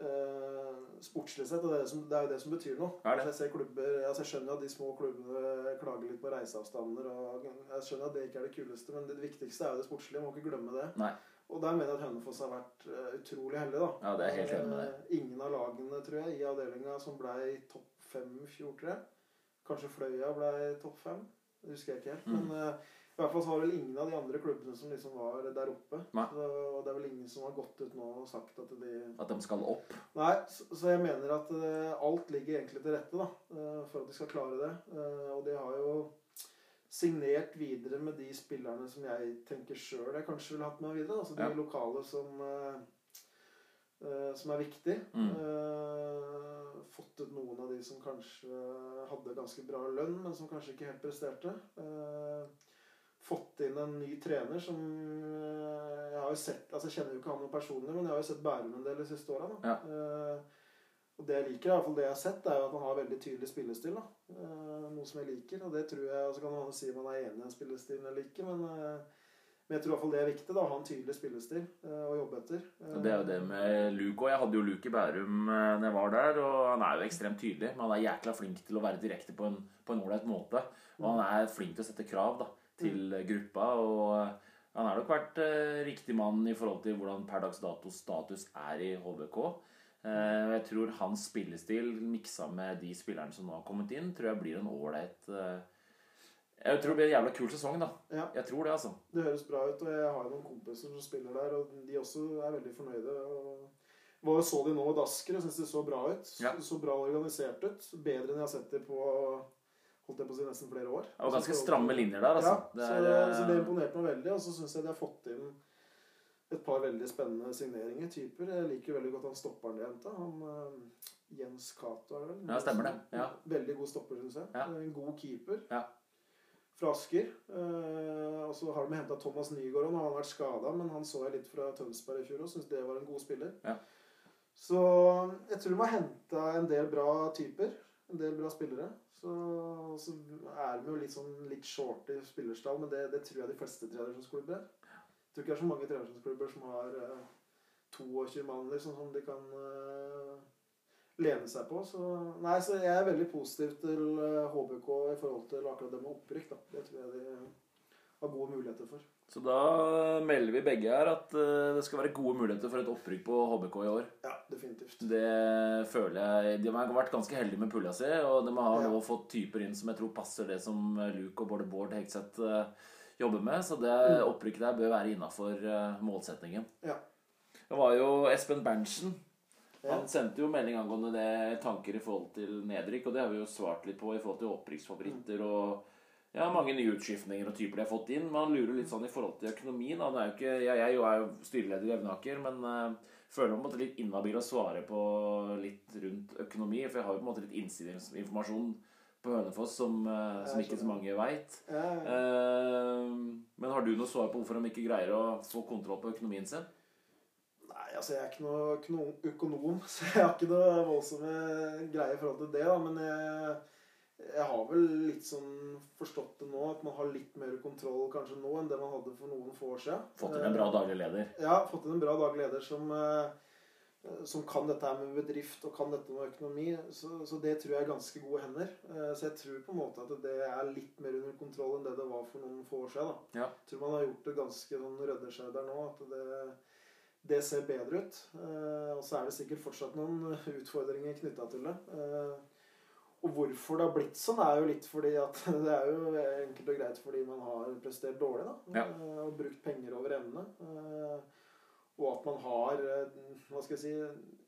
S2: eh, sportslig sett, og det er, det som, det er jo det som betyr noe.
S1: Er det?
S2: Altså, jeg, ser klubber, altså, jeg skjønner jo at de små klubbene klager litt på reiseavstander, og jeg skjønner at det ikke er det kuleste, men det viktigste er jo det sportslige. Må ikke glemme det.
S1: Nei.
S2: Og der mener jeg at Hønefoss har vært eh, utrolig heldig, da.
S1: Ja, det er jeg helt enig med deg.
S2: Eh, Ingen av lagene, tror jeg, i avdelinga som blei topp fem i fjor, tror jeg. Kanskje Fløya blei topp fem. Det husker jeg ikke helt.
S1: Mm.
S2: Men eh, i hvert fall så var vel ingen av de andre klubbene som liksom var der oppe.
S1: Nei.
S2: Så, og det er vel ingen som har gått ut nå og sagt at de
S1: At de skal opp.
S2: Nei, så, så jeg mener at eh, alt ligger egentlig til rette da, eh, for at de skal klare det. Eh, og de har jo signert videre med de spillerne som jeg tenker sjøl jeg kanskje ville hatt med videre. Altså de
S1: Ja.
S2: lokale som, eh, eh, som er viktige.
S1: Mm.
S2: Eh, fått ut noen av de som kanskje hadde ganske bra lønn, men som kanskje ikke helt presterte. Eh, fått inn en ny trener som eh, Jeg har jo sett, altså jeg kjenner jo ikke han noe personlig, men jeg har jo sett Bærum en del de siste åra.
S1: Ja.
S2: Eh, og det jeg liker, i hvert fall det jeg har sett, er jo at han har veldig tydelig spillestil. da. Eh, noe som jeg liker. Og det tror jeg, altså kan man si om man er enig i den spillestilen eller ikke, men, eh, men jeg tror i hvert fall det er viktig. da, Å ha en tydelig spillestil eh, å jobbe etter.
S1: Og Det er jo det med Luke òg. Jeg hadde jo Luke i Bærum eh, når jeg var der. Og han er jo ekstremt tydelig, men han er jækla flink til å være direkte på en på en ålreit måte. Og han er flink til å sette krav da,
S2: Mm.
S1: til eh, gruppa. Og eh, han har nok vært eh, riktig mann i forhold til hvordan per dags dato status er i HBK. Eh, og jeg tror hans spillestil miksa med de spillerne som nå har kommet inn, tror jeg blir en ålreit eh, Jeg tror det blir en jævla kul sesong, da.
S2: Ja.
S1: Jeg tror det, altså.
S2: Det høres bra ut, og jeg har jo noen kompiser som spiller der, og de også er veldig fornøyde. og var jo så de nå i Asker og syntes det så bra ut.
S1: Ja.
S2: Så bra organisert ut. Bedre enn jeg har sett de på holdt jeg på å si, nesten flere år.
S1: Det var ganske stramme linjer der, altså.
S2: Ja, så,
S1: Det er,
S2: det, så det
S1: eh,
S2: imponerte meg veldig. Og så syns jeg de har fått inn et par veldig spennende signeringer. Typer. Jeg liker veldig godt han stopperen de henta. Han eh, Jens Cato, er det vel?
S1: Ja, stemmer det. Ja.
S2: Veldig god stopper, syns jeg.
S1: Ja.
S2: En god keeper.
S1: Ja.
S2: Fra Asker. Eh, og så har de henta Thomas Nygaard. og Nå har han vært skada, men han så jeg litt fra Tønsberg i fjor og syns det var en god spiller.
S1: Ja.
S2: Så jeg tror de har henta en del bra typer. En del bra spillere. Så, så er de jo litt sånn litt short i spillerstall, men det, det tror jeg de fleste trenersklubb er. Jeg tror ikke det er så mange trenerklubber som har eh, 22 mann liksom, som de kan eh, lene seg på. Så, nei, så jeg er veldig positiv til eh, HBK i forhold til akkurat det med opprykk. Da. Det tror jeg de har gode muligheter for.
S1: så da melder vi begge her at eh, det skal være gode muligheter for et opprykk på HBK i år.
S2: Ja, definitivt.
S1: Det føler jeg De har vært ganske heldige med pulla si, og de har
S2: Ja.
S1: nå fått typer inn som jeg tror passer det som eh, Luke og både Bård Hegseth eh, jobber med, så det opprykket der bør være innafor målsettingen.
S2: Ja.
S1: Det var jo Espen Berntsen.
S2: Ja.
S1: Han sendte jo melding angående det tanker i forhold til nedrykk, og det har vi jo svart litt på i forhold til opprykksfavoritter
S2: Mm.
S1: og ja, mange nye utskiftninger og typer de har fått inn. Men han lurer litt sånn i forhold til økonomi, da. Det er jo ikke, jeg, jeg er jo styreleder i Evnaker, men eh, føler meg på en måte litt inhabil å svare på litt rundt økonomi, for jeg har jo på en måte litt innsideinformasjon på Hønefoss som, eh, som
S2: Jeg
S1: ikke så
S2: skjønner.
S1: mange veit.
S2: Eh,
S1: men har du noe svar på hvorfor de ikke greier å få kontroll på økonomien sin?
S2: Nei, altså jeg er ikke noe, ikke noe økonom, så jeg har ikke noe voldsomme greier i forhold til det. da, Men jeg, jeg har vel litt sånn forstått det nå, at man har litt mer kontroll kanskje nå enn det man hadde for noen få år siden.
S1: Fått inn en bra daglig leder.
S2: Ja, fått inn en bra daglig leder som, eh, som kan dette her med bedrift og kan dette med økonomi. Så, så det tror jeg er ganske gode hender. Eh, Så jeg tror på en måte at det er litt mer under kontroll enn det det var for noen få år siden. Da.
S1: Ja.
S2: Jeg tror man har gjort det ganske sånn rydder seg der nå. At det, det ser bedre ut. Eh, og så er det sikkert fortsatt noen utfordringer knytta til det. Eh, og hvorfor det har blitt sånn, er jo litt fordi at det er jo enkelt og greit fordi man har prestert dårlig,
S1: Ja.
S2: da. Eh, og brukt penger over evne. Eh, og at man har eh, hva skal jeg si,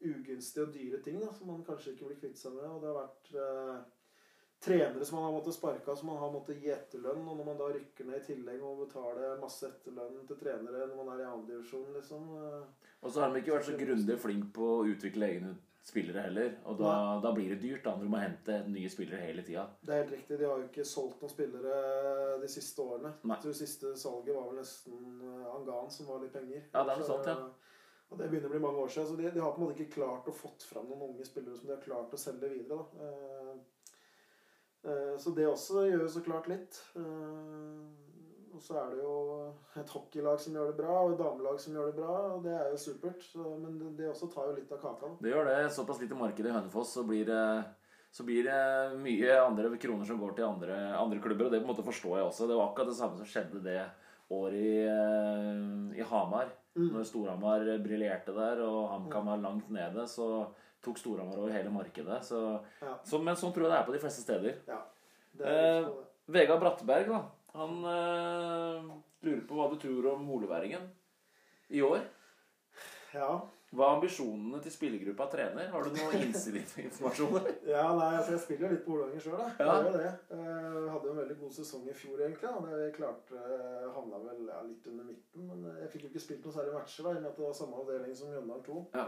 S2: ugunstige og dyre ting da, som man kanskje ikke blir kvitt seg med. Og det har vært eh, trenere som man har måttet sparke av, som man har måttet gi etterlønn. Og når man da rykker ned i tillegg og betaler masse etterlønn til trenere når man er i andredivisjon, liksom eh,
S1: Og så har de ikke vært så grundig flink på å utvikle egne spillere heller. Og da, da blir det dyrt da, når du må hente nye spillere hele tida.
S2: Det er helt riktig. De har jo ikke solgt noen spillere eh, de siste årene.
S1: Nei.
S2: Jeg tror siste salget var vel nesten eh, Angan som var litt penger.
S1: Ja, det er noe sånt, ja.
S2: Og det begynner å bli mange år siden. Så de, de har på en måte ikke klart å fått fram noen unge spillere som de har klart å selge videre. Da. Eh, eh, Så det også gjør jo så klart litt. Eh, Og så er det jo et hockeylag som gjør det bra, og et damelag som gjør det bra. Og det er jo supert. Så- Men det- det også tar jo litt av kaka. da.
S1: Det gjør det. Såpass lite marked i Hønefoss, så blir det så blir det mye andre kroner som går til andre, andre klubber, og det på en måte forstår jeg også. Det var akkurat det samme som skjedde det året i, eh, i Hamar.
S2: Mm.
S1: Når Storhamar briljerte der, og HamKam var langt nede, så tok Storhamar over hele markedet. Så,
S2: Ja.
S1: så, men sånn tror jeg det er på de fleste steder.
S2: Ja. Det er
S1: Eh,
S2: litt sånn, det.
S1: Vegard Brattberg, da. Han eh, lurer på hva du tror om holeværingen i år. Eh,
S2: ja.
S1: Hva er ambisjonene til spillergruppa trener? Har du noe innsideinformasjon? eller?
S2: Ja, nei, altså jeg spiller jo litt på Ordanger sjøl, da.
S1: Ja.
S2: Jeg gjør jo det. Eh, hadde jo en veldig god sesong i fjor, egentlig. Da. Jeg klarte, eh, havna vel ja, litt under midten, men eh, jeg fikk jo ikke spilt noen særlig matcher da, i og med at det var samme avdeling som Mjøndalen 2.
S1: Ja.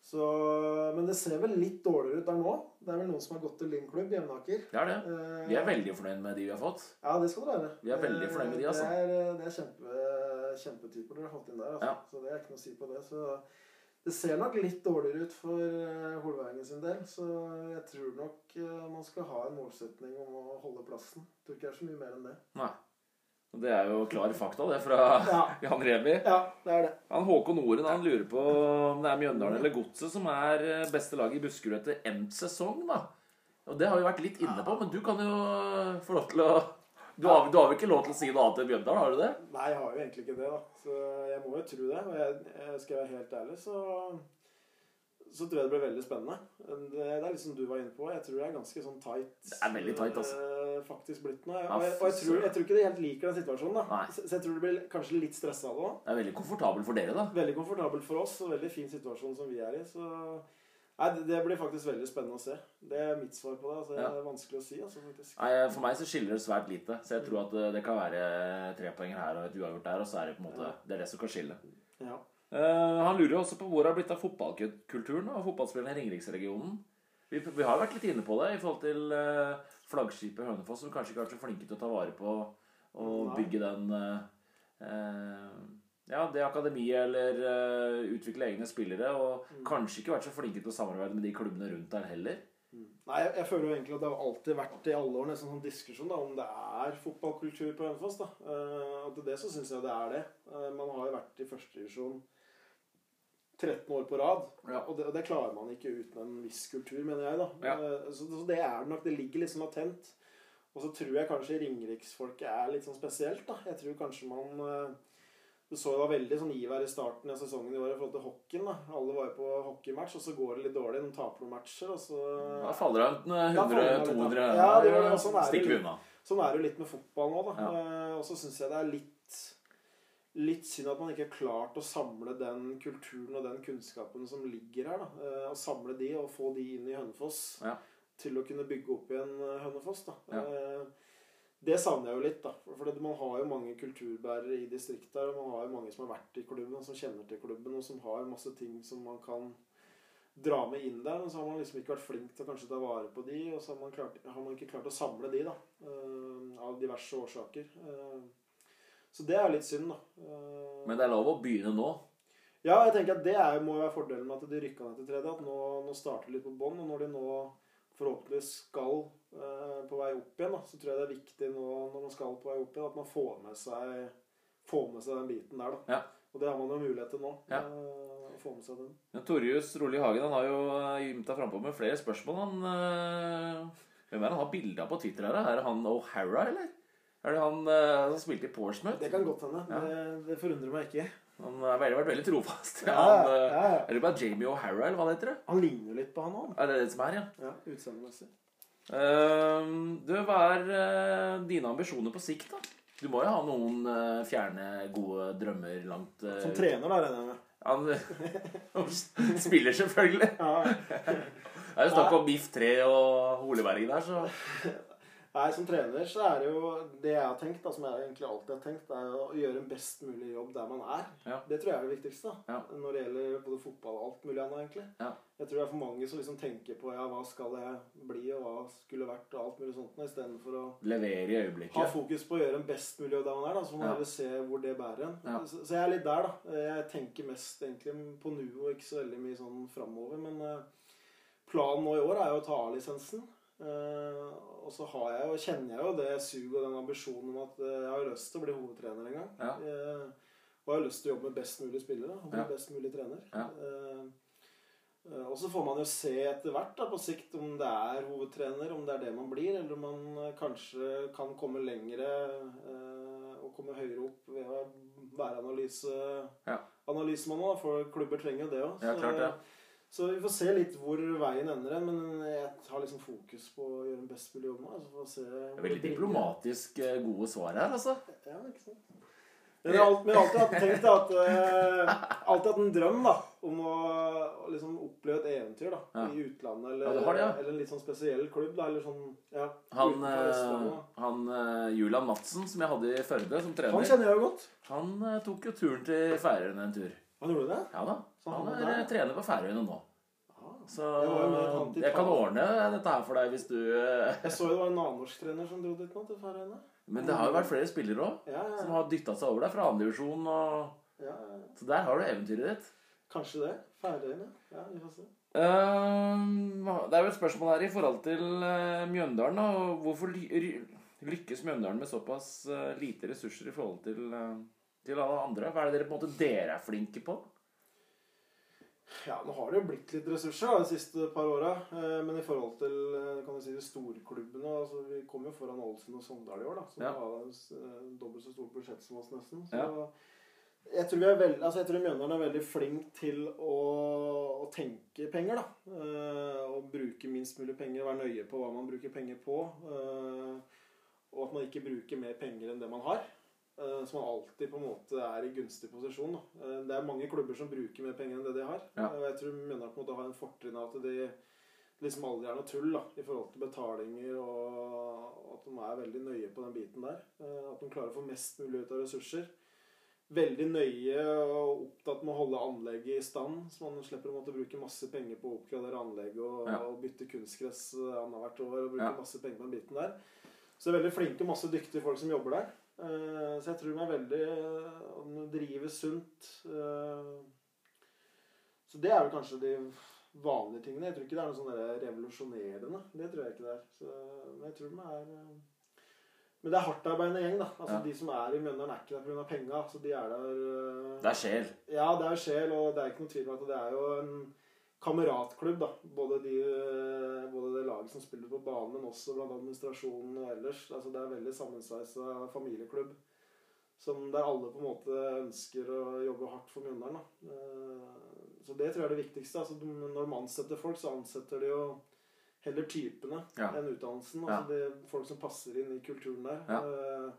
S2: Så, men det ser vel litt dårligere ut der nå. Det er vel noen som har gått til Linn klubb, Jevnaker.
S1: Det er det.
S2: Eh,
S1: Vi er veldig fornøyd med de vi har fått.
S2: Ja, det skal dere være.
S1: Vi er veldig fornøyd med de, altså.
S2: Det er, eh, det er kjempe, kjempetyper dere har fått inn der, altså.
S1: Ja.
S2: Så det er ikke noe å si på det. Så det ser nok litt dårligere ut for eh, Holværingen sin del. Så jeg tror nok eh, man skal ha en målsetning om å holde plassen. Jeg tror ikke det er så mye mer enn det.
S1: Nei. Og Det er jo klare fakta, det, fra
S2: Ja.
S1: Jan Remi.
S2: Ja, det er det.
S1: Han Håkon Oren han lurer på om det er Mjøndalen eller Godset som er eh, beste lag i Buskerud etter endt sesong, da. Og det har vi vært litt inne på, men du kan jo få lov til å Du har, du har vel ikke lov til å si noe annet enn Mjøndalen, har du det?
S2: Nei, jeg har jo egentlig ikke det, da. Så jeg må jo tro det. Og jeg, jeg skal være helt ærlig, så så tror jeg det blir veldig spennende. Men Det, det er litt som du var inne på. Jeg tror det er ganske sånn tight.
S1: Det er veldig tight, altså.
S2: eh, Faktisk blitt nå.
S1: Ja,
S2: Og jeg, og jeg,
S1: fy
S2: tror, jeg tror ikke de helt liker den situasjonen, da.
S1: Nei.
S2: Så, så jeg tror det blir kanskje litt stressa av det òg.
S1: Det er veldig komfortabel for dere, da.
S2: Veldig komfortabel for oss, og veldig fin situasjon som vi er i. Så Nei, det- Det blir faktisk veldig spennende å se. Det er mitt svar på det. altså Det
S1: Ja.
S2: er vanskelig å si, altså, faktisk.
S1: Nei, For meg så skiller det svært lite. Så jeg tror at eh, det kan være tre poeng her og et uavgjort der, og så er det på en måte det er det som kan skille.
S2: Ja.
S1: Eh, han lurer jo også på hvor det har blitt av fotballkulturen og fotballspillerne i Ringeriksregionen. Vi, vi har jo vært litt inne på det i forhold til eh, flaggskipet Hønefoss, som kanskje ikke har vært så flinke til å ta vare på og
S2: Nei.
S1: bygge den eh, eh, Ja, det akademiet eller eh, utvikle egne spillere, og kanskje ikke vært så flinke til å samarbeide med de klubbene rundt der heller.
S2: Mm. Nei, jeg, jeg føler jo egentlig at det har alltid vært i alle år nesten sånn diskusjon da, om det er fotballkultur på Hønefoss. da. Eh, og til det så syns jeg det er det. Eh, man har jo vært i førstedivisjon 13 år på rad.
S1: Ja.
S2: Og, det, og det klarer man ikke uten en viss kultur, mener jeg. da.
S1: Ja.
S2: Eh, så, så det er det nok. Det ligger liksom latent. Og så tror jeg kanskje ringeriksfolket er litt sånn spesielt. da. Jeg tror kanskje man eh, du så jo da veldig sånn iver i starten av sesongen i år i forhold til hockeyen. da. Alle var jo på hockeymatch, og så går det litt dårlig. De taper noen matcher, og så
S1: Da faller det en
S2: Da faller det
S1: 100-200
S2: litt, ja. Ja, det gjør det, og sånn er det
S1: Stikker vi
S2: litt.
S1: unna.
S2: Sånn er det jo litt med fotball nå, da.
S1: Ja.
S2: Eh, Og så syns jeg det er litt Litt synd at man ikke har klart å samle den kulturen og den kunnskapen som ligger her. da. Eh, Og samle de og få de inn i Hønefoss
S1: Ja.
S2: til å kunne bygge opp igjen eh, Hønefoss. da.
S1: Ja.
S2: Eh, Det savner jeg jo litt, da. For- For det- man har jo mange kulturbærere i distriktet her. Og man har jo mange som har vært i klubben, og som kjenner til klubben, og som har masse ting som man kan dra med inn der, men så har man liksom ikke vært flink til å kanskje ta vare på de, og så har man, klart, har man ikke klart å samle de, da. eh, av diverse årsaker. Eh, så det er jo litt synd, da. Eh,
S1: Men det er lov å begynne nå.
S2: ja, jeg tenker at det er, jo- må jo være fordelen med at de rykka ned til tredje. At nå, nå starter de litt på bånn. Og når de nå forhåpentligvis skal eh, på vei opp igjen, da, så tror jeg det er viktig nå når man skal på vei opp igjen, at man får med seg, får med seg den biten der. da.
S1: Ja.
S2: Og det har man jo mulighet til nå.
S1: Ja.
S2: eh, å få med seg den.
S1: Ja, Torjus Roli Hagen han har jo eh, gymta frampå med flere spørsmål. Han, eh, hvem er det han har bilde av på Twitter? her? da? Er det han O'Hara, eller? Er det han eh, som spilte i Portsmouth?
S2: Det kan godt hende.
S1: Ja.
S2: Det, det forundrer meg ikke.
S1: Han har vært, vært veldig trofast.
S2: Ja,
S1: han, eh,
S2: ja, ja.
S1: Er det bare Jamie O'Hara, eller hva det heter? det?
S2: Han ligner jo litt på han òg.
S1: Er det det som er, ja?
S2: Ja, utseendemessig.
S1: Ehm, du, hva er eh, dine ambisjoner på sikt, da? Du må jo ha noen eh, fjerne, gode drømmer langt eh,
S2: Som trener, da, regner jeg med.
S1: Han spiller selvfølgelig.
S2: Ja.
S1: Det er jo snakk om Biff 3 og Holeberg der, så
S2: Nei, som trener så er det jo Det jeg har tenkt, da, som jeg egentlig alltid har tenkt, er jo å gjøre en best mulig jobb der man er.
S1: Ja.
S2: Det tror jeg er det viktigste. da.
S1: Ja.
S2: Når det gjelder både fotball og alt mulig annet, egentlig.
S1: Ja.
S2: Jeg tror det er for mange som liksom tenker på ja, hva skal jeg bli, og hva skulle vært, og alt mulig sånt, istedenfor å
S1: Leverer i øyeblikket.
S2: ha fokus på å gjøre en best mulig jobb der man er, da, så får man
S1: Ja.
S2: heller se hvor det bærer en.
S1: Ja.
S2: Så, så jeg er litt der, da. Jeg tenker mest egentlig på nu og ikke så veldig mye sånn framover. Men eh, planen nå i år er jo å ta A-lisensen. Eh, og så har jeg jo, kjenner jeg jo det suget og den ambisjonen om at eh, jeg har jo lyst til å bli hovedtrener en gang.
S1: Ja.
S2: Eh, og jeg har lyst til å jobbe med best mulig spillere og bli
S1: Ja.
S2: best mulig trener.
S1: Ja.
S2: Eh, Eh, Og så får man jo se etter hvert da, på sikt om det er hovedtrener, om det er det man blir, eller om man eh, kanskje kan komme lengre eh, og komme høyere opp ved å være analyse,
S1: Ja.
S2: analysemann. Da, for klubber trenger jo det òg.
S1: Ja, klart det.
S2: så vi får se litt hvor veien ender hen. Men jeg har liksom fokus på å gjøre en best mulig jobb nå. Så får vi se hvor
S1: Veldig
S2: bringer.
S1: diplomatisk eh, gode svar her, altså.
S2: Ja, ikke sant. Men jeg har alt- men jeg har alltid hatt tenkt at eh, Alltid hatt en drøm da om å, å liksom oppleve et eventyr da
S1: Ja.
S2: i utlandet. Eller,
S1: Ja, du har det, ja.
S2: eller en litt sånn spesiell klubb. da Eller sånn ja,
S1: Han,
S2: utenfor Vestlandet,
S1: eh,
S2: da.
S1: han eh, Julian Madsen, som jeg hadde i Førde som
S2: Han
S1: trener,
S2: kjenner jeg jo godt.
S1: han eh, tok jo turen til Færøyene en tur.
S2: Han gjorde det?
S1: Ja da.
S2: Så
S1: Han
S2: han Ah,
S1: er
S2: er der,
S1: eh, trener på Færøyene nå.
S2: Ja.
S1: Så
S2: Det var jo med han til
S1: jeg kan
S2: Thailand.
S1: ordne dette her for deg hvis du eh,
S2: Jeg så jo det var en navnorsk trener som dro dit nå, til Færøyene.
S1: Men det har jo vært flere spillere òg
S2: Ja, ja,
S1: som
S2: ja,
S1: har dytta seg over deg fra andredivisjon og
S2: ja, ja.
S1: Så der har du eventyret ditt.
S2: Kanskje det. Færøyene. Ja, vi får se.
S1: Ehm, det er jo et spørsmål her i forhold til eh, Mjøndalen. Da. og Hvorfor ly ry- lykkes Mjøndalen med såpass eh, lite ressurser i forhold til, eh, til alle andre? Hva er det dere på en måte dere er flinke på?
S2: Ja, nå har det jo blitt litt ressurser da, de siste par åra. eh, Men i forhold til eh, kan vi si, de storklubbene altså, Vi kom jo foran Ålesund og Sogndal i år, da, som
S1: Ja.
S2: har eh, dobbelt så stort budsjett som oss, nesten. Så
S1: Ja.
S2: jeg, tror vi er veld, altså, jeg tror Mjøndalen er veldig flink til å, å tenke penger, da. Eh, Og bruke minst mulig penger, være nøye på hva man bruker penger på. eh, Og at man ikke bruker mer penger enn det man har. Eh, eh, så man alltid på en måte er i gunstig posisjon. Da. Eh, Det er mange klubber som bruker mer penger enn det de har.
S1: Ja.
S2: Eh, Og jeg tror Mjøndalen på en måte har en fortrinn av at de liksom aldri er noe tull da, i forhold til betalinger og at de er veldig nøye på den biten der. Eh, At de klarer å få mest mulig ut av ressurser. Veldig nøye og opptatt med å holde anlegget i stand, så man slipper å måtte bruke masse penger på å oppgradere anlegget og,
S1: Ja.
S2: og bytte kunstgress eh, annethvert år og bruke
S1: Ja.
S2: masse penger på den biten der. Så det er veldig flinke og masse dyktige folk som jobber der. Eh, Så jeg tror de er veldig eh, De driver sunt. eh, Så det er vel kanskje de vanlige tingene. Jeg tror ikke det er noe sånn der revolusjonerende. Det tror jeg ikke det er. Så, men jeg tror de er eh, Men det er hardtarbeidende gjeng, da. Altså
S1: Ja.
S2: De som er i Mjøndalen, er ikke der pga. penga. Så de er der eh,
S1: Det er sjel.
S2: ja, det er jo sjel, og det er ikke noen tvil om at det er jo en kameratklubb, da. Både, de, eh, både det laget som spiller på banen, men også blant administrasjonen og ellers. Altså, det er en veldig sammensveisa familieklubb. Som der alle på en måte ønsker å jobbe hardt for Mjøndalen. da. Eh, Så det tror jeg er det viktigste. Altså, de- når de ansetter folk, så ansetter de jo heller typene
S1: Ja.
S2: enn utdannelsen.
S1: Ja.
S2: Altså det, folk som passer inn i kulturen der.
S1: Ja.
S2: Eh,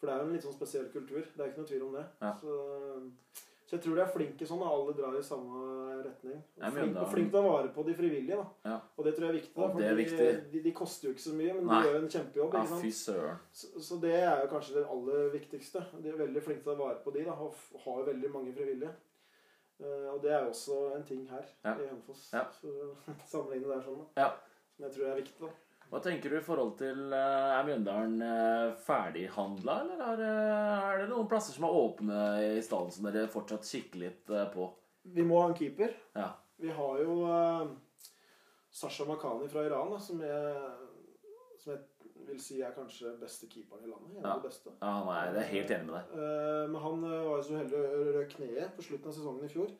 S2: For det er jo en litt sånn spesiell kultur. Det er ikke noe tvil om det.
S1: Ja.
S2: Så, så jeg tror de er flinke sånn. da. Alle drar i samme retning.
S1: Jeg
S2: Og flink,
S1: mener-
S2: og flink til å vare på de frivillige. da.
S1: Ja.
S2: Og det tror jeg er viktig. da,
S1: Og det er
S2: fordi
S1: viktig.
S2: De, de koster jo ikke så mye, men
S1: Nei.
S2: de gjør en kjempejobb.
S1: Ja,
S2: ikke sant?
S1: Ah, fy søren.
S2: Så, så det er jo kanskje det aller viktigste. De er veldig flinke til å vare på de, da, og f- har jo veldig mange frivillige. Eh, og det er jo også en ting her
S1: Ja.
S2: i Hønefoss.
S1: Ja.
S2: For å sammenligne der sånn, da.
S1: Ja.
S2: Som jeg tror er viktig. da.
S1: Hva tenker du i forhold til eh, Er Mjøndalen eh, ferdighandla, eller er, eh, er det noen plasser som er åpne i stallen som dere fortsatt kikker litt eh, på?
S2: Vi må ha en keeper.
S1: Ja.
S2: Vi har jo eh, Sasha Makhani fra Iran, da, som, jeg, som jeg vil si er kanskje beste keeperen i landet. En av
S1: Ja.
S2: de beste.
S1: Ja, nei, det er helt enig med deg.
S2: Eh, men han eh, var jo så heldig å røde kneet på slutten av sesongen i fjor.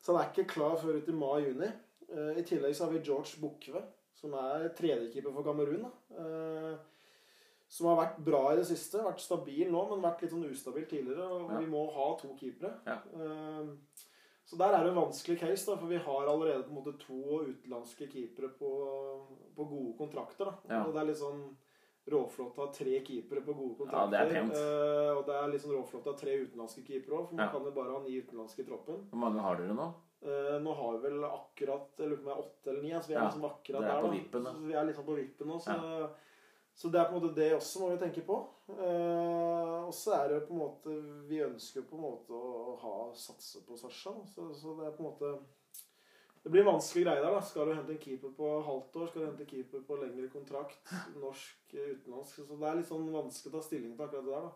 S2: Så han er ikke klar før ut i mai-juni. Eh, I tillegg så har vi George Bukve, som er tredjekeeper for Kamerun. da. Eh, som har vært bra i det siste. Vært stabil nå, men vært litt sånn ustabil tidligere. Og
S1: Ja.
S2: vi må ha to keepere.
S1: Ja.
S2: Eh, så der er det en vanskelig case, da, for vi har allerede på en måte to utenlandske keepere på, på gode kontrakter. da.
S1: Ja.
S2: Og det er litt sånn råflott å ha tre keepere på
S1: Ja,
S2: gode kontrakter.
S1: det er pent.
S2: Eh, og det er litt sånn råflott å ha tre utenlandske keepere òg, for man
S1: Ja.
S2: kan jo bare ha ni utenlandske i troppen.
S1: Hvor mange har dere nå?
S2: Eh, nå har vi vel akkurat jeg lurer på om det er åtte eller ni, ja, så vi er
S1: Ja,
S2: liksom akkurat
S1: det er på
S2: der. da.
S1: vippen, da.
S2: Så vi er liksom på vippen nå, så, så det er på en måte det også må vi tenke på. Eh, og så er det jo på en måte Vi ønsker jo på en måte å ha satse på Sasha, da. så, så det er på en måte det blir en vanskelig greie der. da. Skal du hente en keeper på halvt år? Skal du hente en keeper på lengre kontrakt? Norsk, eh, utenlandsk? Så det er litt sånn vanskelig å ta stilling til akkurat det der. da.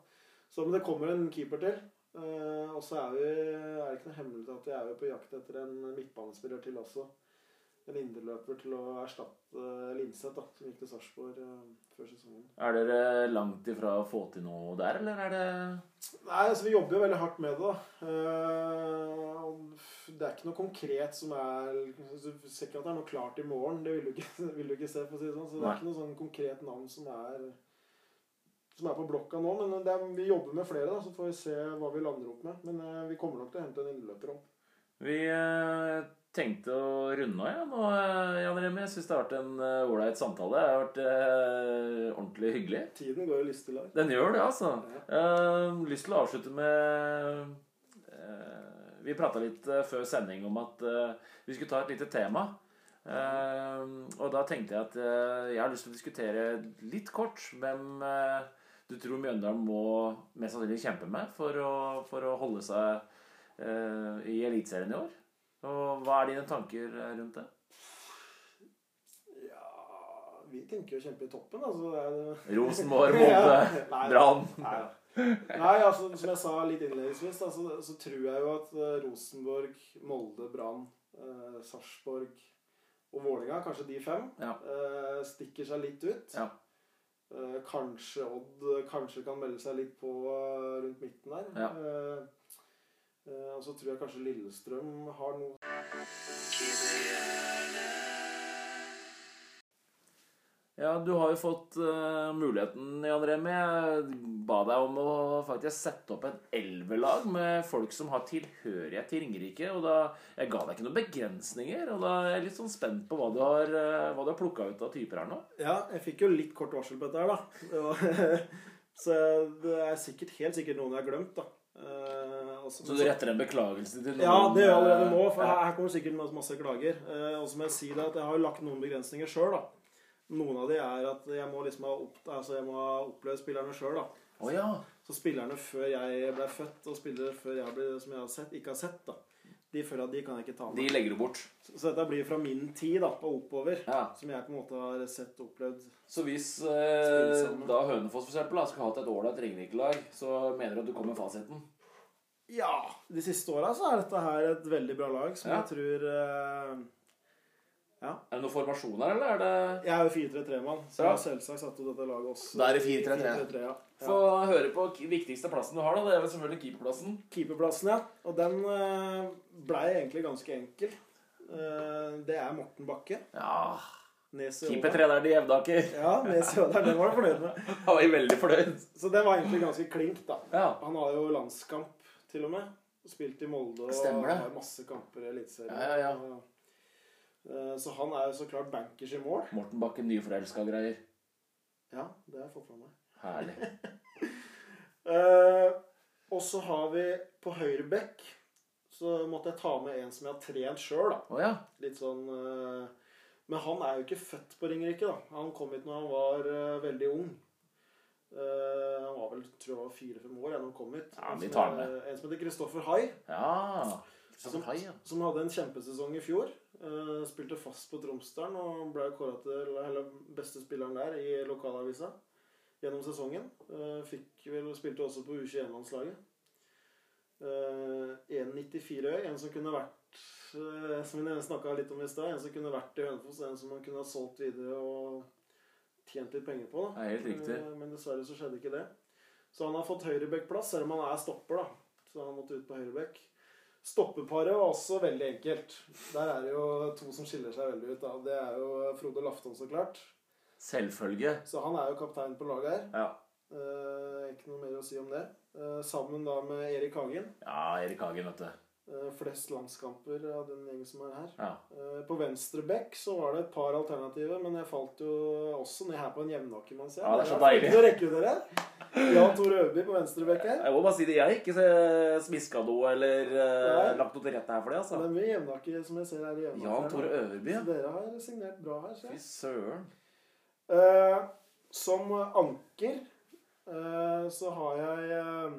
S2: Så, men det kommer en keeper til. Eh, og så er vi er det ikke noe hemmelig at vi er jo på jakt etter en midtbanespiller til også. En indreløper til å erstatte eh, Linseth, da, som gikk til Sarpsborg eh, før sesongen.
S1: Er dere langt ifra å få til noe der, eller er det
S2: Nei, altså Vi jobber jo veldig hardt med det. da. Eh, og det er ikke noe konkret som er altså, Du ser ikke at det er noe klart i morgen. Det vil du ikke, vil du ikke se. for å si det sånn. Så det
S1: Nei.
S2: er ikke noe sånn konkret navn som er som er på blokka nå. Men det er, vi jobber med flere, da, så får vi se hva vi lander opp med. Men eh, vi kommer nok til å hente en innløper òg.
S1: Vi eh, tenkte å runde av, ja, nå, eh, Jan Remi. Jeg syns det har vært en eh, ålreit samtale. Det har vært eh, ordentlig hyggelig.
S2: Tiden går i listelag.
S1: Den gjør det, altså. Eh, lyst til å avslutte med eh, Vi prata litt eh, før sending om at eh, vi skulle ta et lite tema. Eh, og da tenkte jeg at eh, jeg har lyst til å diskutere litt kort hvem eh, du tror Mjøndalen må mest sannsynlig kjempe med for å, for å holde seg eh, i Eliteserien i år. Og hva er dine tanker eh, rundt det?
S2: Ja Vi tenker jo å kjempe i toppen, altså. Det er det.
S1: Rosenborg mot eh,
S2: Nei.
S1: Brann.
S2: Nei, Nei, altså, som jeg sa litt innledningsvis, da, så, så tror jeg jo at eh, Rosenborg, Molde, Brann, eh, Sarpsborg og Vålerenga, kanskje de fem,
S1: Ja.
S2: eh, stikker seg litt ut.
S1: Ja.
S2: Eh, kanskje Odd eh, kanskje kan melde seg litt på eh, rundt midten der.
S1: Ja.
S2: Eh, eh, og så tror jeg kanskje Lillestrøm har noe
S1: Ja, du har jo fått eh, muligheten, Jan Remi. Jeg ba deg om å faktisk sette opp et elvelag med folk som har tilhørighet til Ringerike. Og da, jeg ga deg ikke noen begrensninger, og da er jeg litt sånn spent på hva du har, eh, hva du har plukka ut av typer her nå.
S2: Ja, jeg fikk jo litt kort varsel på dette her, da. Det var- Så det er sikkert, helt sikkert noen jeg har glemt, da. Eh, også-
S1: Så du retter en beklagelse til noen? eh,
S2: Ja, det gjør jeg allerede nå, for
S1: Ja.
S2: her her kommer sikkert masse- masse klager. Eh, og så må jeg si det at jeg har jo lagt noen begrensninger sjøl, da. Noen av de er at jeg må liksom ha, opp, altså jeg må ha opplevd spillerne sjøl, da.
S1: Å ja.
S2: Så spillerne før jeg ble født, og spillere før jeg ble, som jeg har sett, ikke har sett, da. De føler at de kan jeg ikke ta
S1: De
S2: med.
S1: legger du bort.
S2: Så så dette blir fra min tid da, og oppover.
S1: Ja.
S2: Som jeg på en måte har sett og opplevd.
S1: Så hvis
S2: Spill
S1: eh,
S2: sammen.
S1: da Hønefoss for eksempel, da, skulle hatt et ålreit ringvirkelag, så mener du at du kommer med fasiten?
S2: Ja! De siste åra så er dette her et veldig bra lag, som
S1: Ja.
S2: jeg tror eh,
S1: Er det noen formasjon her, eller er det
S2: Jeg er jo 4-3-3-mann, så
S1: Ja.
S2: jeg har selvsagt satt opp dette laget også.
S1: Da er det 4-3-3.
S2: 4-3-3, ja.
S1: Få høre på k- viktigste plassen du har, da. Det er vel selvfølgelig keeperplassen.
S2: Keeperplassen, ja. Og den eh, blei egentlig ganske enkel. Eh, det er Morten Bakke.
S1: Ja.
S2: Nes i Ådal.
S1: Keepertreneren til Jevnaker.
S2: Ja, Nes i Ådal. Den var du fornøyd med.
S1: Han var veldig fornøyd.
S2: Så den var egentlig ganske klink, da.
S1: Ja.
S2: Han har jo landskamp, til og med. Spilt i Molde og
S1: Stemmer det.
S2: har masse kamper i Eliteserien.
S1: Ja, ja,
S2: Eh, Så han er jo så klart bankers i mål.
S1: Morten Bakken, nyforelska greier.
S2: Ja, det har jeg fått fra meg.
S1: Herlig.
S2: Eh, Og så har vi på høyre bekk Så måtte jeg ta med en som jeg har trent sjøl, da.
S1: Å ja.
S2: Litt sånn eh, Men han er jo ikke født på Ringerike, da. Han kom hit når han var eh, veldig ung. Eh, han var vel tror jeg var fire-fem år da han kom hit.
S1: Ja,
S2: En
S1: vi
S2: som
S1: tar
S2: er-
S1: med.
S2: En som heter Kristoffer Hai.
S1: Ja.
S2: Som-
S1: Kristoffer Hai, ja.
S2: som hadde en kjempesesong i fjor. Eh, spilte fast på Tromsdalen og ble kåra til eller, beste spilleren der i lokalavisa gjennom sesongen. Eh, fikk vel Spilte også på U21-landslaget. Eh, 1,94 høy. En som kunne vært eh, Som vi snakka litt om i stad. En som kunne vært i Hønefoss. En som man kunne ha solgt videre og tjent litt penger på. Da.
S1: Det er helt riktig.
S2: Eh, men dessverre så skjedde ikke det. Så han har fått høyrebekkplass, selv om han er stopper. da. Så han måtte ut på høyrebekk. Stoppeparet var også veldig enkelt. Der er det jo to som skiller seg veldig ut. da. Det er jo Frode Lafton, så klart.
S1: Selvfølge.
S2: Så han er jo kaptein på laget her.
S1: Ja.
S2: Eh, ikke noe mer å si om det. Eh, sammen da med Erik Hagen.
S1: ja, Erik Hagen, vet du.
S2: Eh, flest landskamper av den gjengen som er her.
S1: Ja.
S2: Eh, på venstre bekk så var det et par alternativer, men jeg falt jo også ned her på en jevnakermann. ser jeg.
S1: Ja, det er så
S2: Dere
S1: deilig.
S2: flinke til å rekke ut dere. Jan Tore Øverby på venstre bekk her.
S1: Jeg må bare si det. Jeg har ikke smiska noe eller eh,
S2: Nei.
S1: lagt noe til rette her for det, altså.
S2: Det er mye jevnaker som jeg ser her i jevnaker.
S1: Jan Tore Øverby.
S2: Så
S1: ja.
S2: dere har signert bra her, ser
S1: Fy
S2: jeg.
S1: søren.
S2: Eh, som anker eh, så har jeg eh,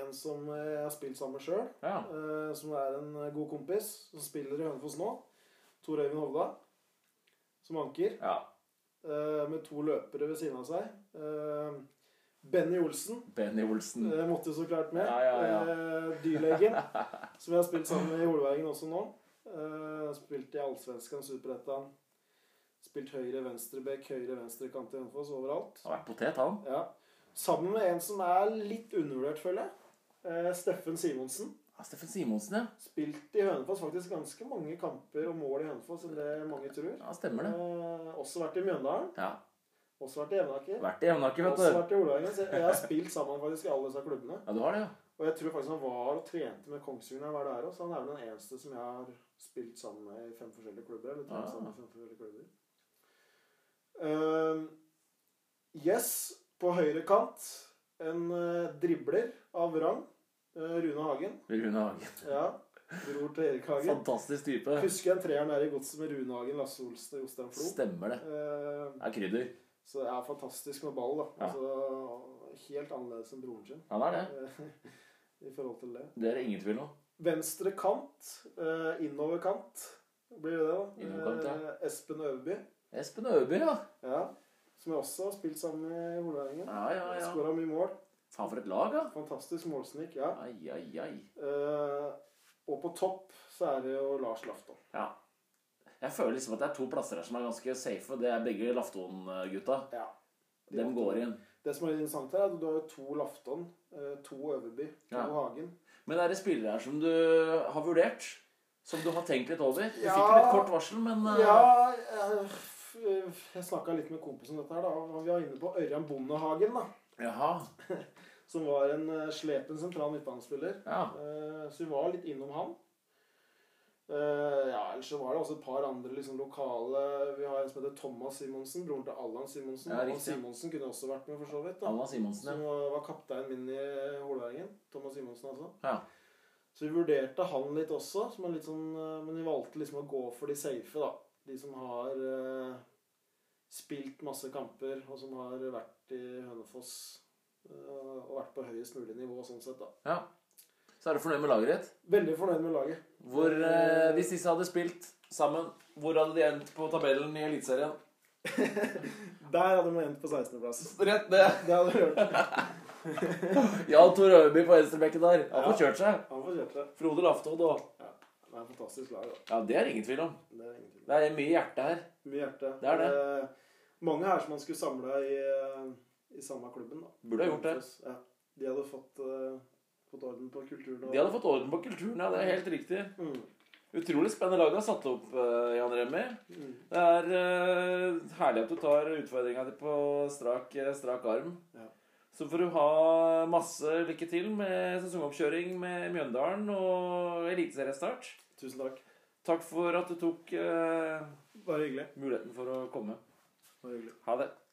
S2: en som jeg har spilt sammen med sjøl.
S1: Ja.
S2: eh, som er en god kompis, som spiller i Hønefoss nå. Tor Øyvind Hovda. Som anker.
S1: ja.
S2: eh, med to løpere ved siden av seg. Eh, Benny Olsen
S1: Benny Olsen.
S2: eh, måtte jo så klart med.
S1: Ja, ja, ja.
S2: Eh, dyrlegen, som jeg har spilt sammen med i Holbergen også nå. Eh, spilt i Allsvenskan, Superettan. Spilt høyre, venstre bekk, høyre, venstre kant i Hønefoss, overalt.
S1: Han har vært potet, han.
S2: Ja. Sammen med en som er litt undervurdert, føler jeg. Eh, Steffen Simonsen.
S1: Ja, Steffen Simonsen, ja.
S2: Spilt i Hønefoss faktisk ganske mange kamper og mål i Hønefoss enn det mange tror.
S1: ja. Stemmer det.
S2: Eh, også vært i Mjøndalen,
S1: Ja.
S2: også vært i Evnaker,
S1: Vært i Jevnaker,
S2: også
S1: vet du.
S2: vært i Olavangen. Så Jeg har spilt sammen faktisk i alle disse klubbene.
S1: Ja, du har det, ja.
S2: Og jeg tror faktisk han var og trente med Kongsvinger da jeg var der også. Han er vel den eneste som jeg har spilt sammen med i fem forskjellige klubber. Eller trent
S1: Ah.
S2: sammen med fem forskjellige klubber. Eh, yes, på høyre kant en eh, dribler av rang. eh, Rune Hagen.
S1: Rune Hagen.
S2: Ja. Bror til Erik Hagen.
S1: Fantastisk type.
S2: Jeg husker en treeren der i godset med Rune Hagen, Lasse Olsen og Jostein Flo.
S1: Stemmer det.
S2: Eh,
S1: Det er krydder.
S2: så det er fantastisk med ball, da.
S1: Ja.
S2: Altså, helt annerledes enn broren sin
S1: Han er det.
S2: eh, i forhold til det.
S1: Det er det ingen tvil om.
S2: Venstre kant, eh, innover kant, blir det det, da.
S1: Innoverkant, ja.
S2: Eh, Espen Øverby,
S1: Espen Øby, ja.
S2: ja. som jeg også har spilt sammen med i Holeværingen.
S1: Ja, ja, ja.
S2: Skåra mye mål.
S1: Faen for et lag, ja.
S2: Fantastisk målsnik, ja.
S1: Ai, ai, ai.
S2: Eh, og på topp så er det jo Lars Lafton.
S1: Ja. Jeg føler liksom at det er to plasser her som er ganske safe. og Det er begge Lafton-gutta.
S2: Ja. De
S1: Dem
S2: vant
S1: går inn.
S2: Det som er interessant her, er at du har jo to Lafton, eh, to Øverby, to
S1: Ja.
S2: Hagen.
S1: Men er det spillere her som du har vurdert? Som du har tenkt litt over? Du
S2: Ja.
S1: fikk jo litt kort varsel, men eh,
S2: Ja, jeg, jeg snakka litt med kompisen om dette her, da. og Vi var inne på Ørjan Bondehagen, da.
S1: Jaha.
S2: Som var en eh, slepen sentral midtbanespiller.
S1: Ja.
S2: Eh, Så vi var litt innom han. Eh, Ja, ellers kanskje var det også et par andre liksom, lokale Vi har en som heter Thomas Simonsen, broren til Allan Simonsen.
S1: Ja,
S2: Allan
S1: riktig.
S2: Simonsen kunne også vært med, for så vidt. da.
S1: Allan Simonsen,
S2: Som var var kapteinen min i Holværingen. Thomas Simonsen, altså.
S1: ja.
S2: Så vi vurderte han litt også, som en litt sånn, eh, men vi valgte liksom å gå for de safe, da. De som har eh, spilt masse kamper, og som har vært i Hønefoss. eh, og vært på høyest mulig nivå, sånn sett, da.
S1: ja. Så er du fornøyd med laget ditt?
S2: Veldig fornøyd med laget.
S1: Hvor, eh, hvis disse hadde spilt sammen, hvor hadde de endt på tabellen i Eliteserien?
S2: Der hadde vi endt på 16.-plass.
S1: Rett ned!
S2: Det hadde vi hørt.
S1: Jan Tor Øverby på venstrebekken der. Han får kjørt seg.
S2: Han får kjørt det.
S1: Frode Lafton og
S2: Det er et fantastisk lag, da.
S1: Ja, det er det ingen tvil om.
S2: Det er ingen tvil om.
S1: Det er mye hjerte her.
S2: Mye hjerte.
S1: Det er det.
S2: Eh, mange her som man skulle samla i, eh, i samme klubben, da.
S1: Burde ha gjort det.
S2: Ja. De hadde fått, eh, fått orden på kulturen.
S1: De hadde fått orden på kulturen, ja. Det er helt riktig.
S2: Mm.
S1: Utrolig spennende lag du har satt opp, eh, Jan Remi.
S2: Mm.
S1: Det er eh, herlig at du tar utfordringa di på strak, eh, strak arm.
S2: Ja.
S1: Så får du ha masse lykke til med sesongoppkjøring med Mjøndalen og eliteseriestart.
S2: Tusen takk.
S1: Takk for at du tok eh,
S2: Bare hyggelig.
S1: muligheten for å komme.
S2: Bare hyggelig.
S1: Ha det.